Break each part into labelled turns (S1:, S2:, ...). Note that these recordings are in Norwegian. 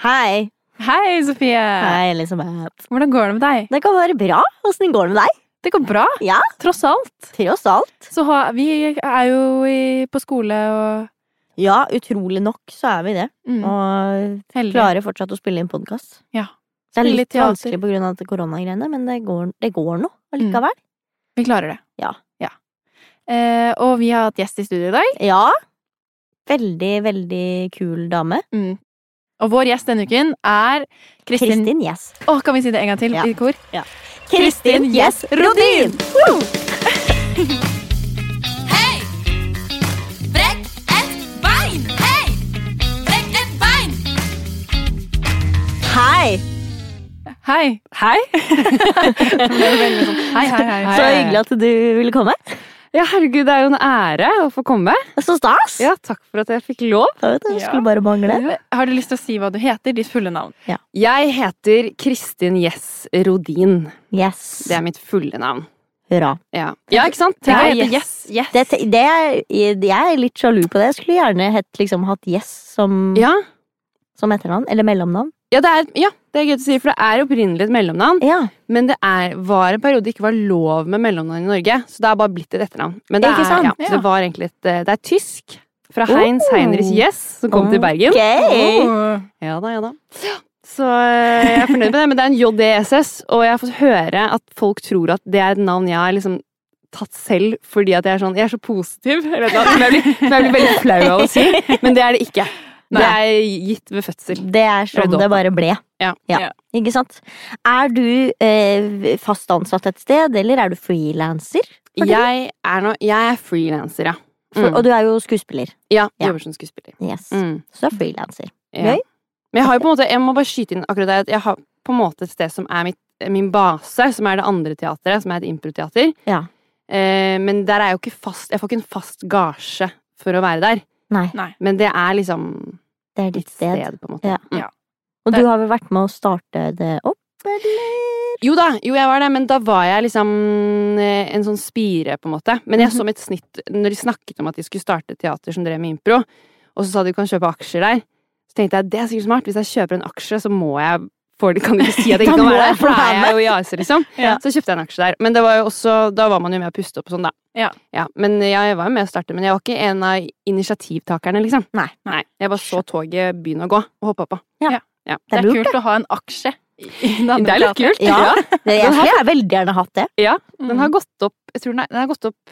S1: Hei.
S2: Hei, Sofie!
S1: Hei, Elisabeth.
S2: Hvordan går det med deg?
S1: Det kan være bra. Åssen går det med deg?
S2: Det går bra,
S1: Ja,
S2: tross alt.
S1: tross alt.
S2: Så ha, vi er jo i, på skole og
S1: Ja, utrolig nok så er vi det.
S2: mm,
S1: Og
S2: heldige.
S1: klarer fortsatt å spille inn podkast.
S2: Ja.
S1: Det er
S2: Spille
S1: litt
S2: teater.
S1: vanskelig på grunn av dette koronagreiene, men det går, det går nå allikevel.
S2: Vi klarer det.
S1: Ja.
S2: Eh, og vi har hatt gjest i studio i dag.
S1: Ja. Veldig, veldig kul dame.
S2: Og vår gjest denne uken er
S1: Mm.
S2: Kristin
S1: Kristin Yes.
S2: Å, kan vi si det en gang til
S1: Ja.
S2: i kor?
S1: Kristin Yes Rodin!
S3: Hei! Brekk et bein! Hei! Brekk et bein!
S1: Hei!
S2: Hei! Hei! sånn, hei, hei, hei.
S1: Så hyggelig at du ville komme.
S4: Ja, herregud, det er jo en ære å få komme.
S1: Så stas!
S4: Ja, takk for at jeg fikk lov.
S1: Jeg vet, det
S2: Ja.
S1: skulle bare mangle.
S2: Har du lyst til å si hva du heter? Ditt fulle navn?
S4: Jeg heter Kristin Jess Rodin.
S1: Yes.
S4: Det er mitt fulle navn.
S1: Hurra.
S4: Ja, ja ikke sant?
S2: Tenk å
S4: Jeg
S2: hete
S4: er
S2: Yes. yes.
S1: Det, det er, jeg er litt sjalu på det. Jeg skulle gjerne hett, liksom, hatt Yes som,
S4: Ja.
S1: som etternavn. Eller mellomnavn.
S4: Ja, det er, ja, det er gøy å si, for det er opprinnelig et mellomnavn.
S1: Ja,
S4: Men det er, var en periode det ikke var lov med mellomnavn i Norge, så det er bare blitt et etternavn. Men det,
S1: Ikke
S4: er,
S1: sant?
S4: ja, så det var egentlig et eh, Det er tysk. Fra Heinz
S1: Oh.
S4: Heinrich Jess, som kom til Bergen.
S1: Ok.
S4: Oh.
S2: Åh.
S4: Ja da, ja da. Så eh, jeg er fornøyd med det, men det er en JDSS, og jeg har fått høre at folk tror at det er et navn jeg har liksom tatt selv fordi at jeg er sånn Jeg er så positiv, eller noe, som jeg blir, som jeg blir veldig flau av å si, men det er det ikke. Det
S2: Nei.
S4: er gitt ved fødsel.
S1: Det er sånn
S4: Redd
S1: det
S4: opp.
S1: bare ble.
S4: Ja.
S2: Ja.
S1: Ikke sant? Er du eh, fast ansatt et sted, eller er du frilanser? Fordi-
S4: Jeg er, nå- jeg er frilanser, ja.
S1: For-
S4: Mm.
S1: Og du er jo skuespiller.
S4: Ja,
S1: Ja.
S4: Jobber som skuespiller.
S1: Yes.
S4: Mm.
S1: Så du er frilanser.
S4: Ja.
S1: Gøy.
S4: Men jeg har jo på en måte Jeg må bare skyte inn akkurat det at Jeg har på en måte et sted som er mitt, min base Som er det andre teateret Som er et improteater
S1: Ja.
S4: eh, Men der er jeg jo ikke fast Jeg får ikke en fast gasje for å være der
S1: Nei,
S2: Nei.
S4: Men det er liksom
S1: det er
S4: mitt
S1: ditt
S4: sted,
S1: sted.
S4: på en måte
S1: Ja.
S4: Mm.
S2: Ja.
S1: Og
S2: Det-
S1: du har vel vært med å starte det opp, eller?
S4: Jo da, jo jeg var det Men da var jeg liksom eh, En sånn spire på en måte Men
S1: Mhm.
S4: jeg så mitt snitt Når de snakket om at de skulle starte et teater Som drev med impro Og så sa de du kan kjøpe aksjer der Så tenkte jeg det er sikkert smart Hvis jeg kjøper en aksje så må jeg for de kan ikke si at jeg
S1: Da
S4: ikke kan
S1: må
S4: være
S1: jeg
S4: der, for da
S1: være
S4: er jeg jo i AS, liksom.
S2: Ja.
S4: Så kjøpte jeg en aksje der. Men det var jo også, da var man jo med å puste opp og sånn, da.
S2: Ja.
S4: men eh, jeg var jo med å starte, men jeg var ikke en av initiativtakerne, liksom.
S1: Nei.
S4: Nei. Jeg bare så toget begynne å gå, og hoppa på.
S1: Det
S2: Det
S1: er
S2: er
S1: lurt,
S2: kult å ha en aksje. i- i det andre
S4: Det er litt
S2: teatret.
S4: kult.
S1: Ja. det. Jeg skulle jeg veldig gjerne hatt det.
S4: Ja, den har gått opp, jeg tror den har, den har gått opp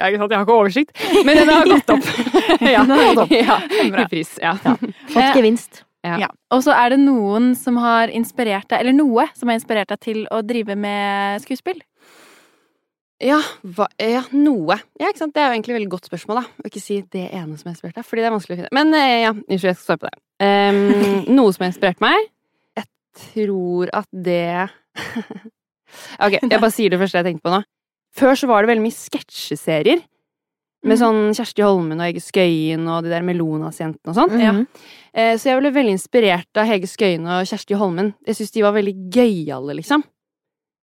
S4: jeg, jeg har Mm. ikke oversikt, men den har gått opp. ja,
S2: Den har gått opp.
S4: Ja,
S2: Bra.
S4: i pris, ja.
S1: Fått gevinst.
S4: Ja.
S2: Ja. Og så er det noen som har inspirert deg, eller noe som har inspirert deg til å drive med skuespill.
S4: Ja, hva, ja, noe. Ja, ikke sant? Det er jo egentlig et veldig godt spørsmål, da. Å ikke si det ene som har inspirert deg, fordi det er vanskelig å finne. Men eh, ja, unnskyld, jeg skal svare på det. Ehm, noe som har inspirert meg? Jeg tror at det Ok, jeg bare sier det første jeg tenkte på nå. Før så var det veldig mye sketsjeserier. Med sånn Kjersti Holmen og Hege Skøyen og de der Melonas-jentene og sånn.
S2: Ja.
S1: Mhm.
S4: Eh, Så jeg ble veldig inspirert av Hege Skøyen og Kjersti Holmen. Jeg syns de var veldig gøyale, liksom.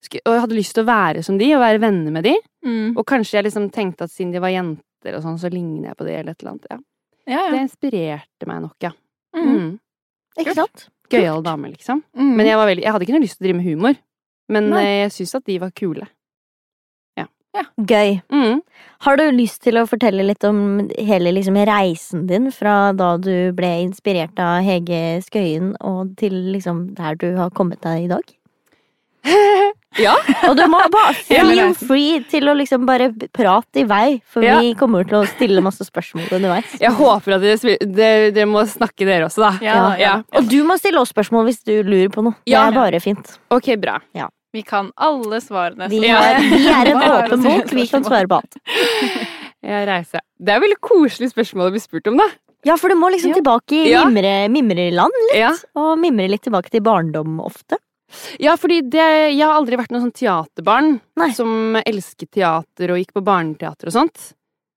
S4: Sk- Og jeg hadde lyst til å være som de, og være venner med de.
S2: Mm.
S4: Og kanskje jeg liksom tenkte at siden de var jenter og sånn, så ligner jeg på det eller et eller annet. Ja.
S2: Ja,
S4: Det
S2: ja.
S4: inspirerte meg nok, ja.
S2: Mm.
S4: Mm.
S1: Ikke sant?
S4: Gøyal dame, liksom.
S2: Mm.
S4: Men jeg, var veldig, jeg hadde ikke noe lyst til å drive med humor. Men
S2: Nei.
S4: eh, jeg syns at de var kule.
S1: Gøy.
S4: Mm.
S1: Har du lyst til å fortelle litt om hele liksom, reisen din fra da du ble inspirert av Hege Skøyen og til liksom, der du har kommet deg i dag?
S4: Ja.
S1: Og du må bare
S2: Hele
S1: feel
S2: reisen.
S1: free til å liksom bare prate i vei, for
S4: Ja.
S1: vi kommer til å stille masse spørsmål underveis.
S4: Jeg håper at dere, spil- dere, dere må snakke, dere også, da.
S2: Ja, da, ja.
S1: Og du må stille oss spørsmål hvis du lurer på noe.
S4: Ja.
S1: Det er bare fint.
S4: Ok, bra.
S2: Vi kan alle svarene.
S1: Vi,
S4: Ja.
S1: har, vi er en
S2: Bare
S1: åpen
S2: stille
S1: bok, vi kan
S2: spørsmål.
S1: svare på alt.
S4: Jeg reiser. Det er veldig koselig spørsmål å bli spurt om, da.
S1: Ja, for du må liksom
S2: Ja.
S1: tilbake i
S4: Ja.
S1: mimre, mimreland,
S4: Ja.
S1: og mimre litt tilbake til barndom ofte.
S4: Ja, fordi det, jeg har aldri vært noen sånn teaterbarn
S1: Nei.
S4: som elsket teater og gikk på barneteater og sånt.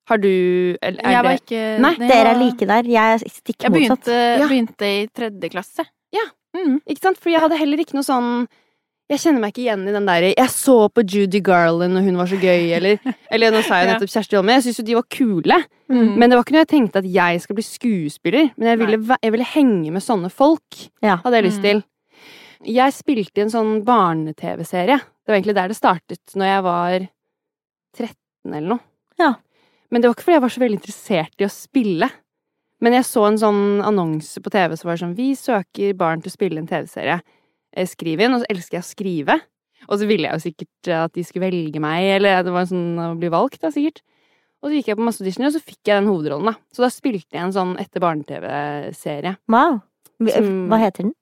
S4: Har du eller er
S2: Jeg var
S4: det-
S2: ikke
S4: Nei,
S2: det
S1: Dere
S2: var-
S1: er like der. Jeg er stikk
S2: Jeg
S1: motsatt.
S2: begynte,
S4: Ja.
S2: begynte i tredje klasse.
S4: Ja.
S2: Mm.
S4: Ikke sant? For jeg hadde heller ikke noe sånn Jeg kjenner meg ikke igjen i den der 'jeg så på Judy Garland og hun var så gøy', eller Eller nå sa jeg jo nettopp Kjersti Holme. Jeg syns jo de var kule,
S2: Mm.
S4: men det var ikke noe jeg tenkte at jeg skal bli skuespiller. Men jeg ville, væ- jeg ville henge med sånne folk,
S1: Ja.
S4: hadde jeg lyst
S2: Mm.
S4: til. Jeg spilte i en sånn barne-TV-serie. Det var egentlig der det startet, når jeg var 13 eller noe.
S1: Ja.
S4: Men det var ikke fordi jeg var så veldig interessert i å spille. Men jeg så en sånn annonse på TV som var sånn 'Vi søker barn til å spille en TV-serie'. Eh, Skriv inn. Og så elsker jeg å skrive. Og så ville jeg jo sikkert eh, at de skulle velge meg, eller det var sånn å bli valgt, da, sikkert. Og så gikk jeg på masse auditioner, og så fikk jeg den hovedrollen, da. Så da spilte jeg en sånn etter barne-TV-serie.
S1: Wow. Vi-
S4: Som-
S1: Hva heter den?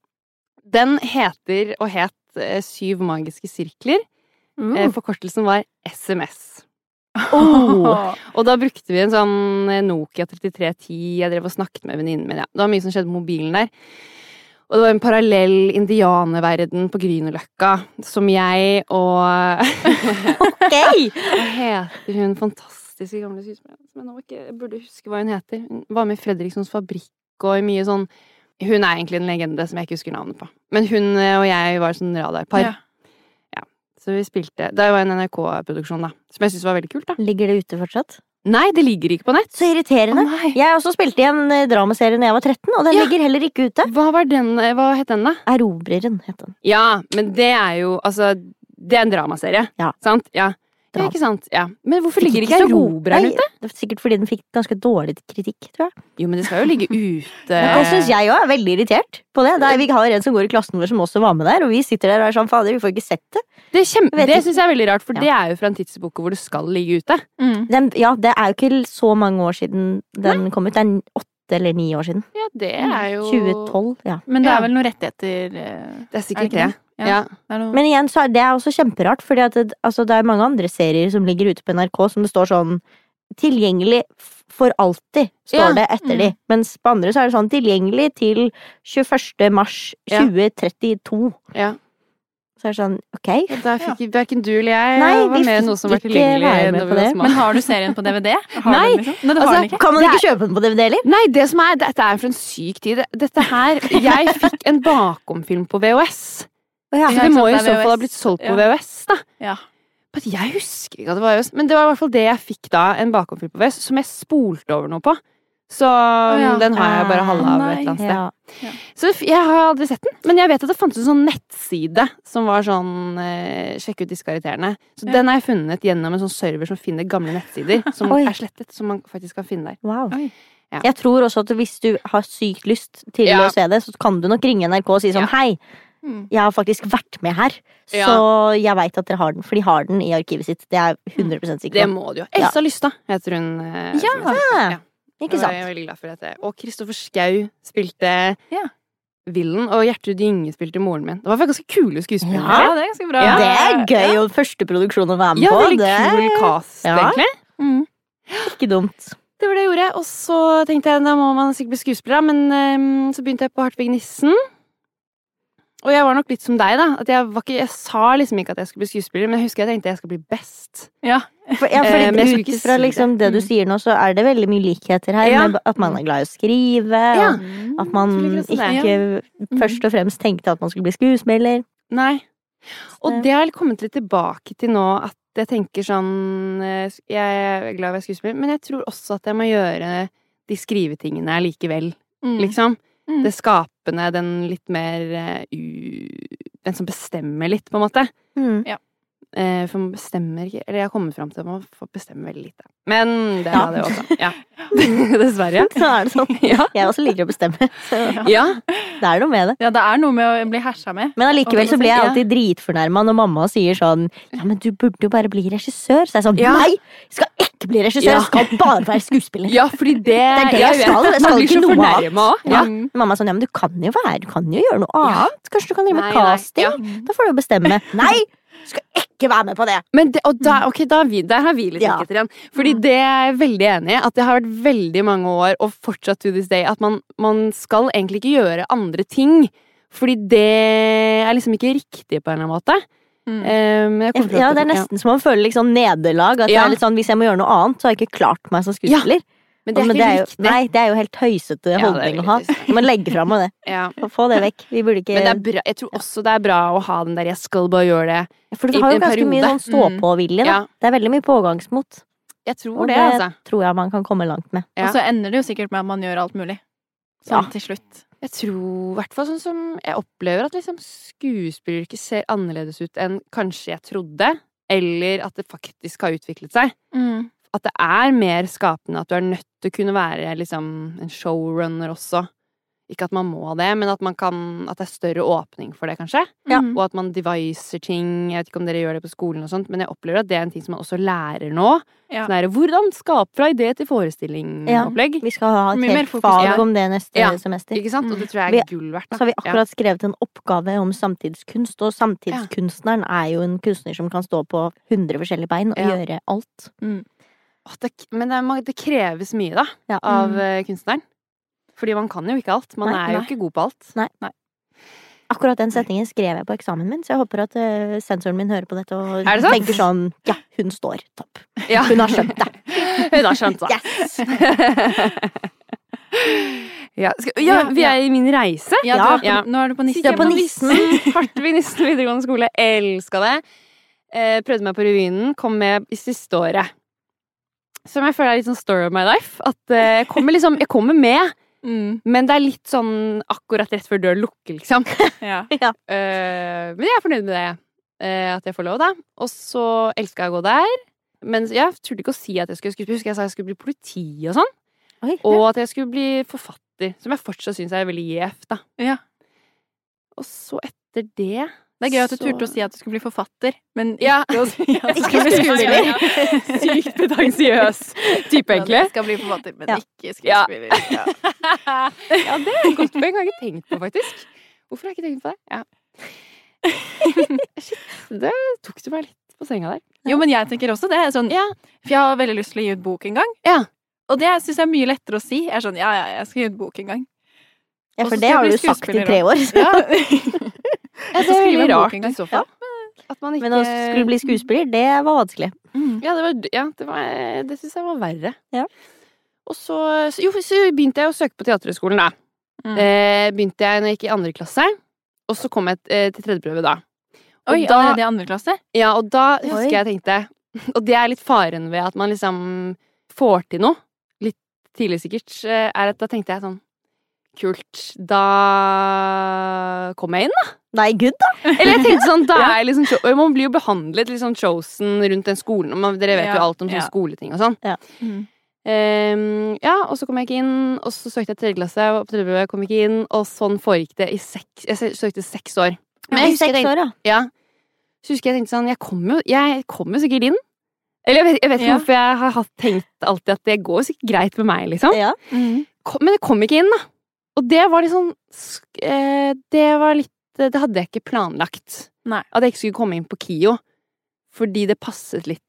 S4: Den heter og het eh, Syv magiske sirkler.
S2: Uh.
S4: Eh, Forkortelsen var SMS.
S2: Åh.
S4: Og da brukte vi en sånn eh, Nokia 3310. Jeg drev og snakket med venninnen min. Ja. Det var mye som skjedde med mobilen der. Og det var en parallell indianerverden på Grünerløkka som jeg og
S1: Ok!
S4: Hva heter hun fantastiske gamle skuespilleren som jeg nå ikke jeg burde huske hva hun heter? Hun var med i Fredrikssons Fabrikk og i mye sånn Hun er egentlig en legende som jeg ikke husker navnet på. Men hun eh, og jeg var sånn radarpar.
S2: Ja.
S4: Så vi spilte Det var en NRK-produksjon, da. Som jeg syntes var veldig kult, da.
S1: Ligger det ute fortsatt?
S4: Nei, det ligger ikke på nett!
S1: Så irriterende.
S4: Å, nei.
S1: Jeg også spilte i en eh, dramaserie da jeg var 13, og den
S4: Ja.
S1: ligger heller ikke ute.
S4: Hva var den eh, Hva het den, da?
S1: Erobreren het den.
S4: Ja, men det er jo Altså, det er en dramaserie.
S1: Ja.
S4: Sant? Ja.
S1: Dram-
S4: ja ikke sant? Ja. Men hvorfor
S1: Fikk
S4: ligger ikke
S1: så god-
S4: Erobreren
S1: Nei,
S4: ute?
S1: Det er sikkert fordi den fikk ganske dårlig kritikk, tror jeg.
S4: Jo, men det skal jo ligge ute.
S1: Det syns jeg òg er veldig irritert på det. det er, vi har en som går i klassen vår som også var med der, og vi sitter der og er sånn fader, vi får ikke sett det.
S4: Det, er kjempe-
S1: Vet
S4: det
S1: ikke.
S4: syns jeg er veldig rart, for
S1: Ja.
S4: det er jo fra en tidsepoke hvor det skal ligge ute.
S2: Mm.
S1: Den, ja, det er jo ikke så mange år siden den kom ut. Det er åtte eller ni år siden.
S4: Ja, det
S2: er
S1: 2012, ja.
S2: Men det
S4: Ja.
S2: er vel noen rettigheter eh,
S4: Det er
S2: er
S4: sikkert
S2: ikke
S4: det.
S2: det?
S4: Ja.
S2: det er noe...
S1: Men igjen, så er det er også kjemperart, fordi at det, altså, det er mange andre serier som ligger ute på NRK som det står sånn Tilgjengelig f- for alltid, står
S4: Ja,
S1: det etter
S2: mm.
S1: de. Mens på andre så er det sånn tilgjengelig til 21. mars
S4: Ja.
S1: 2032.
S4: Ja.
S1: Så er det sånn, ok.
S4: Og Der fikk verken du eller jeg
S1: Nei, vi
S4: var med i noe som var
S1: fikk ikke være
S4: tilgjengelig.
S1: med
S4: Når
S1: på
S4: vi var
S1: det.
S4: små.
S2: Men har du serien på DVD? Har du
S4: Nei,
S2: den, liksom? Nei, det har
S4: altså,
S2: den ikke.
S1: Kan man
S4: Det er-
S1: ikke kjøpe den på DVD heller?
S4: Nei, det som er, dette er for en syk tid. Dette her, Jeg fikk en bakomfilm på VHS.
S1: Ja,
S4: Så
S2: Ja,
S4: det
S2: ikke
S4: må
S2: sant,
S4: jo i
S2: det er
S4: så fall ha
S2: VHS.
S4: blitt solgt på
S2: Ja.
S4: VHS, da.
S2: Ja.
S4: Men Jeg husker ikke at det var VHS, men det var i hvert fall det jeg fikk da. En bakomfilm på VHS som jeg spolte over noe på. Så
S2: ja. Ah,
S4: den har jeg bare halve av
S2: Nei.
S4: et eller annet sted.
S1: Ja.
S4: Så f- jeg har aldri sett den, men jeg vet at det fantes en sånn nettside som var sånn eh, Sjekk ut disse karakterene. Så
S2: Ja.
S4: den har jeg funnet gjennom en sånn server som finner gamle nettsider som
S1: Oi.
S4: er slettet. Som man faktisk kan finne der.
S1: Wow.
S2: Oi.
S4: Ja.
S1: Jeg tror også at hvis du har sykt lyst til
S4: Ja.
S1: å se det, så kan du nok ringe NRK og si sånn Hei,
S2: Mm.
S1: jeg har faktisk vært med her,
S4: Ja.
S1: så jeg veit at dere har den. For de har den i arkivet sitt. Det er jeg 100
S4: Det
S1: sikker på.
S4: må du jo.
S1: Ja.
S4: Elsa Lystad heter hun. eh,
S2: Ja.
S4: som jeg sa.
S1: Ja, Ikke
S4: Jeg er
S1: sant?
S4: veldig glad for dette. Og Kristoffer Schau spilte
S2: Ja.
S4: Villen, og Gjertrud Gynge spilte moren min. Det var faktisk ganske kule
S2: Ja,
S4: skuespillere.
S2: det er ganske bra.
S4: Ja.
S1: Det er gøy og første produksjon å være med
S4: Ja,
S1: på.
S4: veldig
S1: Det er
S4: kul cast,
S1: Ja.
S4: egentlig.
S2: Mm.
S1: ikke dumt.
S4: Det var det jeg gjorde. Og så tenkte jeg da må man sikkert bli skuespiller, da. men ehm, så begynte jeg på Hartvig Nissen. Og jeg var nok litt som deg, da. At jeg, var ikke, jeg sa liksom ikke at jeg skulle bli skuespiller, men jeg husker jeg tenkte jeg skal bli best.
S2: Ja.
S1: For, ja,
S4: Eh, men jeg
S1: fordi
S4: skulle
S1: Ut
S4: ikke
S1: fra
S4: si
S1: liksom det du
S2: Mm.
S1: sier nå, så er det veldig mye likheter her.
S4: Ja.
S1: Med at man er glad i å skrive,
S4: Ja. Mm,
S1: og at man
S4: Skulle ikke si det.
S1: ikke først og fremst tenkte at man skulle bli skuespiller.
S4: Nei. Og
S1: Så-
S4: det har jeg kommet litt tilbake til nå, at jeg tenker sånn eh, Jeg er glad i å være skuespiller, men jeg tror også at jeg må gjøre de skrivetingene likevel,
S2: Mm.
S4: liksom.
S2: Mm.
S4: Det skapende, den litt mer eh, u... Den som bestemmer litt, på en måte.
S1: Mm.
S4: Eh, for man bestemmer ikke Eller jeg har kommet fram til at man får bestemme veldig lite. Men det
S1: Ja.
S4: er det også. Ja. Dessverre.
S1: Så er det sånn.
S4: Ja.
S1: Jeg også liker å bestemme. Så
S4: ja.
S1: det er noe med det.
S2: ja, det er noe med å bli hersa med.
S1: Men allikevel så blir jeg
S4: Ja.
S1: alltid dritfornærma når mamma sier sånn Ja, men du burde jo bare bli regissør. Så er jeg sånn
S4: Ja.
S1: Nei! Jeg skal ikke bli regissør! Jeg skal bare være skuespiller.
S4: Ja, fordi det
S1: Det er det jeg
S4: vet
S1: skal,
S4: at
S1: jeg
S4: Man
S1: skal
S4: blir
S1: ikke
S4: så
S1: noe
S4: fornærma òg. Ja.
S2: Mm.
S1: Mamma er sånn Ja, men du kan jo være Du kan jo gjøre noe
S4: Ja.
S1: annet. Kanskje du kan drive
S4: Nei,
S1: med
S4: nei,
S1: casting?
S4: ja.
S1: Da får du jo bestemme. Nei! Du skal ikke være med på det!
S4: Men det, og da, ok, da har vi, der har vi
S1: Mm.
S4: litt
S1: Ja. Mm.
S4: likheter igjen. Fordi det er jeg veldig enig i. At det har vært veldig mange år, og fortsatt to this day, at man, man skal egentlig ikke gjøre andre ting. Fordi det er liksom ikke riktig på en eller annen måte.
S2: Mm.
S4: Eh, men jeg kommer til å-
S1: Ja, det er nesten som man føler liksom nederlag. At det
S4: Ja.
S1: er litt sånn, Hvis jeg må gjøre noe annet, så har jeg ikke klart meg som skuespiller.
S4: Men det er
S1: men
S4: ikke
S1: jo,
S4: riktig.
S1: nei, det er jo helt tøysete
S4: Ja, det er
S1: holdning å ha.
S4: veldig trist.
S1: Du må legge fra meg det.
S4: Ja.
S1: Få det vekk. Vi burde ikke
S4: Men det er bra. jeg tror også det er bra å ha den der 'jeg skal bare gjøre det'.
S1: For du
S4: i
S1: har jo
S4: en
S1: ganske mye
S4: periode. Mm.
S1: sånn stå-på-vilje, da.
S4: Ja.
S1: Det er veldig mye pågangsmot.
S4: Jeg tror
S1: Og
S4: det,
S1: det-
S4: altså.
S1: Tror jeg man kan komme langt med.
S4: Ja.
S2: Og så ender det jo sikkert med at man gjør alt mulig. Sånn til slutt.
S4: Jeg tror i hvert fall sånn som jeg opplever at liksom skuespilleryrket ser annerledes ut enn kanskje jeg trodde, eller at det faktisk har utviklet seg.
S2: Mm.
S4: At det er mer skapende at du er nødt til å kunne være liksom en showrunner også. Ikke at man må det, men at, man kan, at det er større åpning for det, kanskje.
S1: Ja.
S2: Mm.
S4: Og at man deviser ting. Jeg vet ikke om dere gjør det på skolen, og sånt, men jeg opplever at det er en ting som man også lærer nå.
S2: Ja.
S4: Sånn der, hvordan skape fra idé til forestilling-opplegg.
S1: Vi skal ha et
S2: Mye mer
S1: helt
S2: fokus,
S1: fag
S4: ja.
S1: om det neste
S4: Ja.
S1: semester.
S4: Ikke sant? Og det tror
S1: Vi-
S4: jeg er gull verdt. da.
S1: Så har vi
S4: Ja.
S1: akkurat skrevet en oppgave om samtidskunst, og samtidskunstneren er jo en kunstner som kan stå på 100 forskjellige bein og
S4: Ja.
S1: gjøre alt.
S4: Åh, det, men det, er mange- det kreves mye, da,
S1: Ja.
S4: av
S2: Mm.
S4: eh, kunstneren. Fordi man kan jo ikke alt. Man
S1: Nei,
S4: er jo
S2: nei.
S4: ikke god på alt.
S1: Akkurat den setningen skrev jeg på eksamen min, så jeg håper at eh, sensoren min hører på dette og
S4: Er det sant?
S1: tenker sånn Ja, hun står topp.
S4: Ja.
S1: Hun har skjønt det.
S4: Hun har skjønt det.
S1: Yes!
S4: ja, skal, ja,
S2: Ja,
S4: vi er i min reise.
S2: Ja, du
S1: Ja.
S2: er på, nå er du på nissen.
S1: Du er på nissen.
S4: Hartvig Nissen videregående skole. Elska det. Eh, prøvde meg på revyen. Kom med i siste året. Som jeg føler er litt sånn story of my life. At eh, jeg kommer liksom Jeg kommer med,
S2: Mm.
S4: men det er litt sånn akkurat rett før dør lukker, liksom.
S2: Ja.
S4: Eh, men jeg er fornøyd med det. eh, at jeg får lov, da. Og så elska jeg å gå der. Men jeg turte ikke å si at jeg skulle skuespille. Husker jeg sa jeg skulle bli politi og sånn.
S1: Oi.
S4: Og at jeg skulle bli forfatter. Som jeg fortsatt syns er veldig gjevt, da.
S2: Ja.
S4: Og så etter det
S2: Det er gøy at du
S4: så-
S2: turte å si at du skulle bli forfatter, men
S4: Ja.
S2: ikke å si at du
S4: Ikke
S2: skulle bli
S4: skuespiller.
S2: skuespiller.
S4: Sykt pretensiøs type,
S2: Ja,
S4: egentlig.
S2: du Skal bli forfatter, men
S1: Ja.
S2: ikke skuespiller. Ja.
S4: Ja, det er et godt poeng. Har jeg ikke tenkt på, faktisk. Hvorfor har jeg ikke tenkt på det? Ja. Shit. Det tok du meg litt på senga der.
S2: Jo, men jeg tenker også det. er Sånn,
S4: Ja.
S2: For jeg har veldig lyst til å gi ut bok en gang.
S4: Ja.
S2: Og det syns jeg er mye lettere å si. Jeg er sånn, ja, ja, jeg skal gi ut bok en gang.
S1: Ja,
S2: Og
S1: for
S2: så
S1: det
S2: skal
S1: har du
S2: jeg bli
S1: sagt i
S2: skuespiller
S1: tre år.
S2: Ja.
S4: Ja, det er
S2: Skrive
S4: veldig
S2: en bok
S4: rart
S2: en
S4: i
S2: gang.
S4: så fall. At man ikke
S1: Men å skulle bli skuespiller, det var vanskelig.
S2: Mm.
S4: Ja, det, var, ja, det, var- det syns jeg var verre.
S1: Ja.
S4: Og så, så, jo, så begynte jeg å søke på Teaterhøgskolen, da.
S2: Mm.
S4: Eh, begynte jeg når jeg gikk i andre klasse, og så kom jeg eh, til tredje prøve, da. Og
S2: Oi,
S4: da,
S2: allerede i andre klasse?
S4: ja, og da husker
S1: Oi.
S4: jeg tenkte Og det er litt faren ved at man liksom får til noe, litt tidlig sikkert, eh, er at da tenkte jeg sånn Kult. Da kom jeg inn, da.
S1: Nei, gud, da!
S4: Eller jeg tenkte sånn, da er jeg liksom cho- Man blir jo behandlet litt sånn chosen rundt den skolen. og Man, dere vet
S2: Ja,
S4: jo alt om sånne
S2: ja.
S4: skoleting og sånn.
S2: Mm.
S4: Ehm, ja, og så kom jeg ikke inn, og så søkte jeg tredje klasse, og på tredje prøve kom jeg ikke inn, og sånn foregikk det i seks Jeg sø- søkte seks år. Men
S1: I
S4: jeg husker jeg
S1: seks
S4: tenkte,
S1: år, ja.
S4: ja, så husker jeg tenkte sånn Jeg kommer jo, jeg kom jo sikkert inn. Eller jeg vet, jeg vet ikke
S2: Ja.
S4: hvorfor jeg har hatt, tenkt alltid at det går sikkert greit med meg, liksom.
S1: ja.
S2: Mm.
S4: Kom, men det kom ikke inn, da. Og det var litt sånn sk- eh, Det var litt Det hadde jeg ikke planlagt.
S2: Nei.
S4: At jeg ikke skulle komme inn på KIO. Fordi det passet litt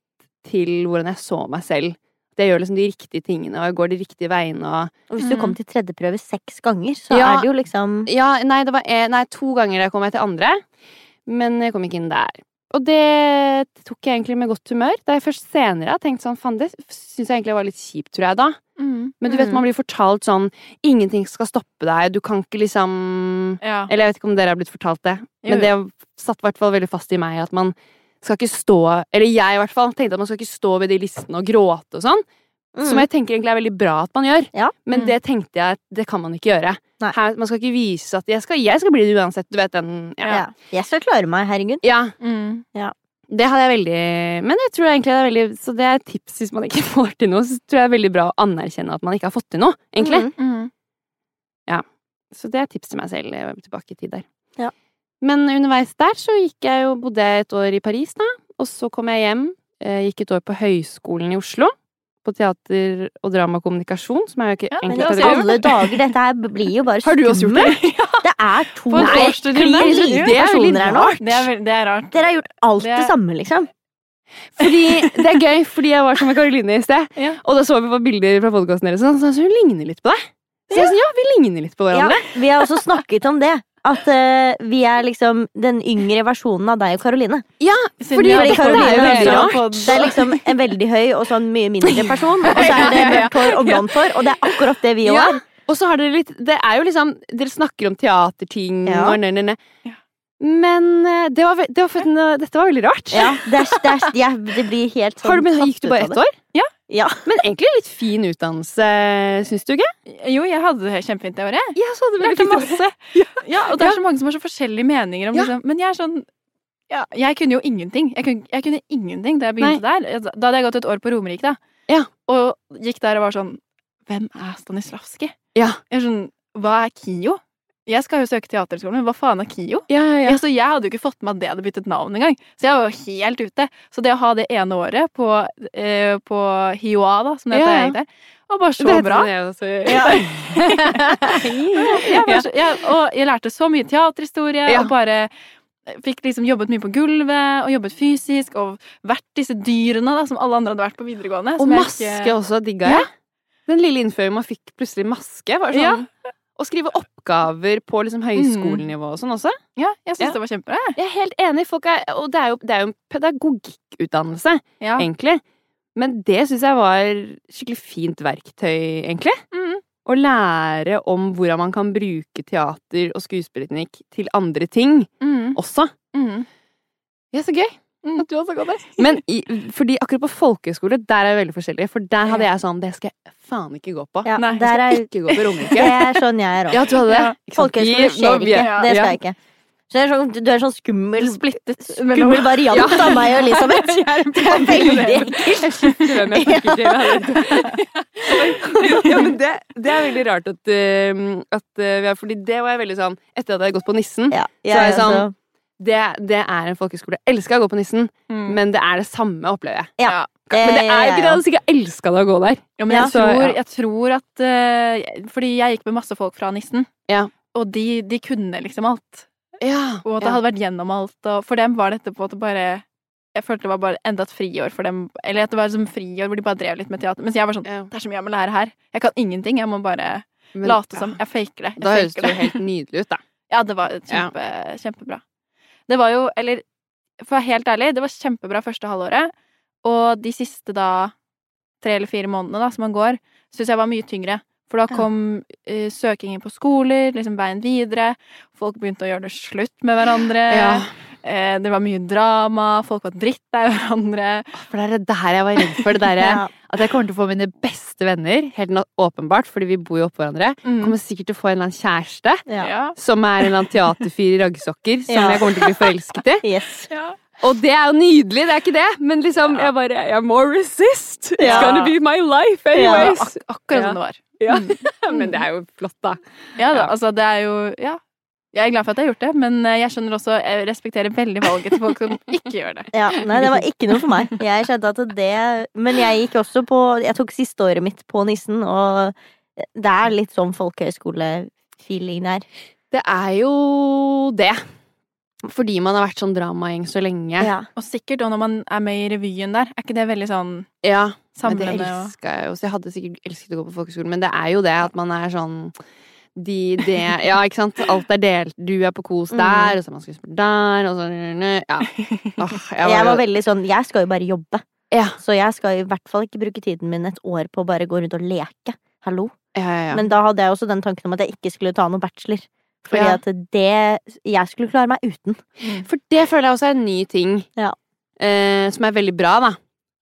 S4: til hvordan jeg så meg selv. At jeg gjør liksom de riktige tingene, og jeg går de riktige veiene og
S1: Og hvis du kom
S2: Mm.
S1: til tredjeprøve seks ganger, så
S4: Ja.
S1: er det jo liksom
S4: Ja, nei, det var eh, nei, to ganger da kom jeg til andre. Men jeg kom ikke inn der. Og det tok jeg egentlig med godt humør. Da jeg først senere har tenkt sånn Faen, det syns jeg egentlig var litt kjipt, tror jeg, da.
S2: Mm.
S4: Men du vet,
S1: Mm.
S4: man blir fortalt sånn Ingenting skal stoppe deg, du kan ikke liksom
S2: Ja.
S4: Eller jeg vet ikke om dere har blitt fortalt det,
S2: Jo,
S4: men det satt i hvert fall veldig fast i meg at man skal ikke stå Eller jeg i hvert fall tenkte at man skal ikke stå ved de listene og gråte og sånn. Som jeg tenker egentlig er veldig bra at man gjør,
S1: Mm. Ja.
S4: men
S2: Mm.
S4: det tenkte jeg at det kan man ikke gjøre.
S1: Nei.
S4: Her, man skal ikke vise at jeg skal, jeg skal bli det uansett, du vet den ja.
S1: ja. Jeg skal klare meg, herregud.
S4: ja.
S2: Mm.
S4: Det hadde jeg veldig Men jeg tror egentlig det er veldig Så det er et tips hvis man ikke får til noe. Så tror jeg det er veldig bra å anerkjenne at man ikke har fått til noe, egentlig.
S1: Mm.
S2: Mm.
S4: Så det er et tips til meg selv eh, tilbake i tid der.
S1: Ja.
S4: Men underveis der så gikk jeg jo, bodde jeg et år i Paris, da. Og så kom jeg hjem. eh, Gikk et år på Høgskolen i Oslo. På teater og dramakommunikasjon, som er jo ikke
S2: Ja, men
S1: Men i
S2: det
S4: egentlig
S2: har også
S4: teater-
S2: jeg
S1: alle dager, dette her blir jo bare
S4: Har du også gjort det?
S1: skummelt. Det er to
S2: På en
S1: Nei,
S2: årsstudie,
S1: klin
S2: det er
S1: like
S2: veldig
S1: personer her nå.
S2: Det er, vel- det er rart.
S1: Dere har gjort alt
S2: Det-
S1: det samme, liksom.
S4: Fordi, det er gøy, fordi jeg var som med Karoline i sted.
S2: Ja.
S4: Og da så vi på bilder fra podkasten deres, og sånn, så hun ligner litt på deg. Så jeg sånn, ja, vi ligner litt på
S1: Ja,
S4: hverandre.
S1: vi har også snakket om det. At eh, vi er liksom den yngre versjonen av deg og Karoline.
S4: Ja,
S2: Siden
S4: fordi
S2: vi har
S1: Fordi
S2: dette er
S1: Karoline
S2: jo
S1: er,
S2: veldig
S1: også-
S2: rart.
S1: det er liksom en veldig høy og sånn mye mindre person. Og så er det mørkt hår og blondt hår, og det er akkurat det vi òg
S4: Ja,
S1: er.
S4: Og så har dere litt Det er jo liksom Dere snakker om teaterting
S1: Ja.
S4: og nø, nø, nø.
S2: Ja.
S4: Men eh, det var, ve- det var, for- nå- dette var veldig rart.
S1: Ja, det, er, det, er, jeg, det blir helt sånn
S4: Har du, men, gikk
S1: tatt
S4: du
S1: ut
S4: bare
S1: av
S4: ett
S1: det.
S4: år?
S1: Ja.
S4: Men egentlig litt fin utdannelse, syns du ikke?
S2: Jo, jeg hadde det kjempefint det året.
S4: Ja, så hadde
S2: Jeg lærte masse. Ja, og det er så mange som har så forskjellige meninger om
S4: Ja.
S2: liksom Men jeg er sånn ja, Jeg kunne jo ingenting. Jeg kunne, jeg kunne ingenting da jeg begynte der. Altså, Da hadde jeg gått et år på Romerike, da.
S4: Ja.
S2: Og gikk der og var sånn Hvem er Stanislavski?
S4: Ja.
S2: Jeg er sånn Hva er KIO? Jeg skal jo søke teaterskolen, men hva faen er KIO?
S4: Ja, ja, ja.
S2: Altså, jeg hadde jo ikke fått med at det hadde byttet navn engang. Så jeg var jo helt ute. Så det å ha det ene året på, eh, på HiOA, da, som det heter
S4: Ja, ja.
S2: der, var bare så
S4: Det heter
S2: bra.
S4: det, jeg også.
S1: altså.
S2: Jeg var så, jeg, og jeg lærte så mye teaterhistorie,
S4: Ja.
S2: og bare fikk liksom jobbet mye på gulvet, og jobbet fysisk, og vært disse dyrene da, som alle andre hadde vært på videregående.
S4: Og
S2: som jeg
S4: maske også digga
S2: Ja.
S4: jeg. Den lille innføringen man fikk plutselig maske, var
S2: Ja.
S4: sånn Å skrive oppgaver på liksom høyskolenivå og sånn også.
S2: Ja, jeg syns
S4: Ja.
S2: det var kjempebra. jeg.
S4: Jeg er helt enig, folk er, og det er jo, det er jo en pedagogikkutdannelse,
S2: Ja.
S4: egentlig. Men det syns jeg var skikkelig fint verktøy, egentlig.
S1: Mhm.
S2: Mm.
S4: Å lære om hvordan man kan bruke teater og skuespillerteknikk til andre ting
S2: Mm.
S4: også.
S2: Mm.
S4: Ja, så gøy!
S2: Mm.
S4: Du har snakka om det. Men i, fordi akkurat på folkehøyskole, der er jeg veldig forskjellig. For der hadde jeg sånn Det skal jeg faen ikke gå på.
S1: Ja,
S2: Nei,
S1: der er,
S4: Ikke gå på
S1: det
S4: Romerike.
S1: er sånn jeg er òg.
S4: Ja, du hadde
S2: Ja.
S4: det. Ikke sant?
S1: Folkehøyskole
S4: Nå
S1: skjer
S4: blir
S1: ikke.
S4: jeg-
S1: Det
S4: ja.
S1: skal jeg ikke. Så det er sånn, du er sånn skummel,
S2: Splittet mellom
S1: skummel variant av meg og Elisabeth. Det er veldig ekkelt.
S4: Jeg skjønner hvem jeg snakker til. ja, men det, det er veldig rart at, eh, at eh, vi har Fordi det var jeg veldig sånn Etter at jeg hadde gått på Nissen
S1: Ja,
S4: Så er det
S1: jeg
S4: sånn-
S1: også-
S4: det, det er en folkeskole. Jeg elsker å gå på Nissen,
S2: Mm.
S4: men det er det samme, opplever jeg.
S1: Ja.
S4: Men det
S1: Eh,
S4: er
S1: ja,
S4: ikke det. Jeg
S1: ja.
S4: hadde sikkert elska det å gå der.
S2: Ja, men
S1: Ja.
S2: jeg,
S4: Så,
S2: tror,
S4: ja.
S2: jeg tror at eh, Fordi jeg gikk med masse folk fra Nissen,
S4: Ja.
S2: og de, de kunne liksom alt.
S4: Ja,
S2: Og at jeg hadde vært gjennom alt. Og for dem var dette på at det bare Jeg følte det var bare enda et friår for dem. Eller at det var som friår hvor de bare drev litt med teater. Mens jeg var sånn
S4: Ja.
S2: Det er så mye jeg må lære her. Jeg kan ingenting. Jeg må bare
S4: Men-
S2: late som. Jeg faker det. Jeg
S4: Da høres
S2: faker
S4: det jo helt nydelig ut, da.
S2: ja, det var kjempe, kjempebra. Det var jo, eller for å være helt ærlig, det var kjempebra første halvåret. Og de siste da tre eller fire månedene da, som man går, syns jeg var mye tyngre. For da
S1: Ja.
S2: kom eh, søkingen på skoler, liksom veien videre. Folk begynte å gjøre det slutt med hverandre.
S4: Ja.
S2: Eh, det var mye drama. Folk var drittlei hverandre.
S4: For det er det der jeg var redd for. Det derre
S1: Ja.
S4: at jeg kommer til å få mine beste venner, helt na- åpenbart, fordi vi bor jo oppå hverandre.
S2: Mm.
S4: Kommer sikkert til å få en eller annen kjæreste
S1: Ja.
S2: Ja.
S4: som er en eller annen teaterfyr i raggsokker som
S1: Ja.
S4: jeg kommer til å bli forelsket i.
S1: Yes.
S4: Og det er jo nydelig, det er ikke det, men liksom jeg bare Jeg må resist! It's
S1: Ja.
S4: gonna be my life
S2: Ja,
S4: anyways!
S2: ak akkurat
S4: Ja.
S2: som det var.
S4: Ja.
S2: Mm.
S4: men det er jo flott, da.
S2: Ja da,
S4: Ja.
S2: altså det er jo Ja. Jeg er glad for at jeg har gjort det, men eh, jeg skjønner også Jeg respekterer veldig valget til folk som ikke gjør det.
S1: Ja, nei, det var ikke noe for meg. Jeg skjønte at det Men jeg gikk også på Jeg tok siste året mitt på Nissen, og det er litt sånn folkehøyskole-feeling der.
S4: Det er jo det. Fordi man har vært sånn dramagjeng så lenge.
S1: Ja.
S2: Og sikkert da når man er med i revyen der, er ikke det veldig sånn
S4: Ja, men det
S2: samlende og
S4: elska jeg jo. Så jeg hadde sikkert elsket å gå på folkeskole, men det er jo det at man er sånn de, det, ja, ikke sant? Alt er delt. Du er på
S1: Mm.
S4: kos der, og så er man skuespiller der, og så Ja. Åh, jeg
S1: Jeg var
S4: jo-
S1: veldig sånn Jeg skal jo bare jobbe.
S4: Ja.
S1: Så jeg skal i hvert fall ikke bruke tiden min et år på å bare gå rundt og leke. Hallo.
S4: ja, ja, ja.
S1: Men da hadde jeg også den tanken om at jeg ikke skulle ta noe bachelor. Fordi
S4: Ja.
S1: at det Jeg skulle klare meg uten.
S4: For det føler jeg også er en ny ting
S1: Ja.
S4: eh, som er veldig bra, da.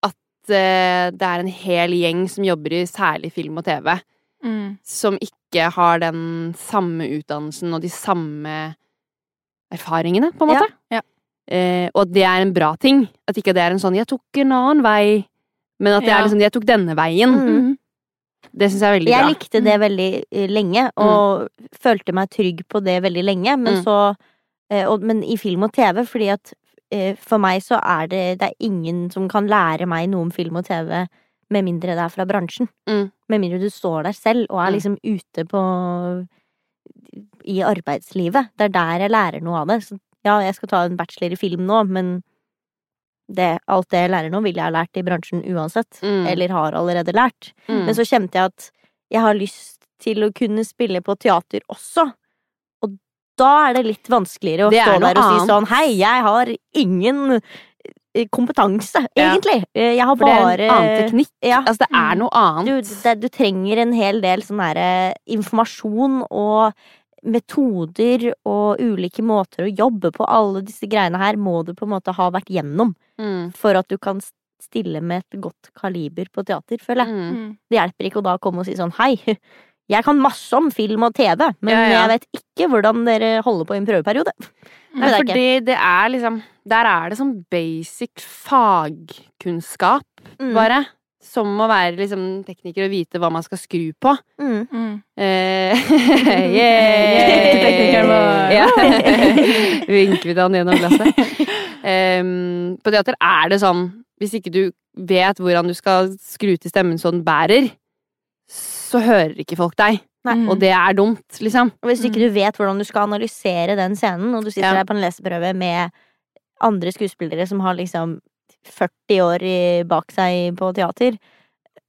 S4: At eh, det er en hel gjeng som jobber i særlig film og TV,
S2: mm.
S4: som ikke har den samme utdannelsen og de samme erfaringene, på en måte.
S2: Ja, ja.
S4: Eh, og at det er en bra ting. At ikke det er en sånn 'jeg tok en annen vei', men at det
S2: Ja.
S4: er liksom 'jeg tok denne veien'.
S1: Mm.
S4: Det syns jeg er veldig
S1: Jeg
S4: bra.
S1: likte det veldig eh, lenge, og følte meg trygg på det veldig lenge. Men
S4: Mm.
S1: så eh, og, Men i film og TV, fordi at eh, for meg så er det Det er ingen som kan lære meg noe om film og TV med mindre det er fra bransjen.
S4: Mm.
S1: Med mindre du står der selv og er
S4: Mm.
S1: liksom ute på I arbeidslivet. Det er der jeg lærer noe av det. Så, ja, jeg skal ta en bachelor i film nå, men det, alt det jeg lærer nå, vil jeg ha lært i bransjen uansett.
S4: Mm.
S1: Eller har allerede lært.
S4: Mm.
S1: Men så kjente jeg at jeg har lyst til å kunne spille på teater også. Og da er det litt vanskeligere å
S4: Det er
S1: stå
S4: noe
S1: der og si
S4: annet.
S1: sånn Hei, jeg har ingen eh, kompetanse,
S4: Ja.
S1: egentlig. Eh, Jeg har
S4: For det
S1: bare
S4: er en annen teknikk.
S1: Ja. Mm.
S4: Altså, det er noe
S1: Du,
S4: annet.
S1: det, du trenger en hel del sånn herre informasjon og metoder og ulike måter å jobbe på. Alle disse greiene her må du på en måte ha vært gjennom
S4: Mm.
S1: for at du kan s- stille med et godt kaliber på teater, føler jeg.
S4: Mm.
S2: Mm.
S1: Det hjelper ikke å da komme og si sånn hei. Jeg kan masse om film og TV, men
S4: Ja, ja.
S1: jeg vet ikke hvordan dere holder på i en prøveperiode. Mm. Det
S2: Nei,
S4: Nei,
S1: vet jeg ikke.
S4: fordi det er liksom Der er det sånn basic fagkunnskap,
S1: Mm.
S4: bare. Som å være liksom tekniker og vite hva man skal skru på.
S1: Mm.
S2: Mm.
S4: Eh,
S2: Teknikeren vår.
S4: Ja. Vinker vi til han gjennom glasset. Em, på teater er det sånn Hvis ikke du vet hvordan du skal skru til stemmen så den bærer, så hører ikke folk deg.
S1: Nei.
S4: Og det er dumt, liksom.
S1: Og Hvis ikke du vet hvordan du skal analysere den scenen, og du sitter
S4: Ja.
S1: der på en leseprøve med andre skuespillere som har liksom 40 år i- bak seg på teater,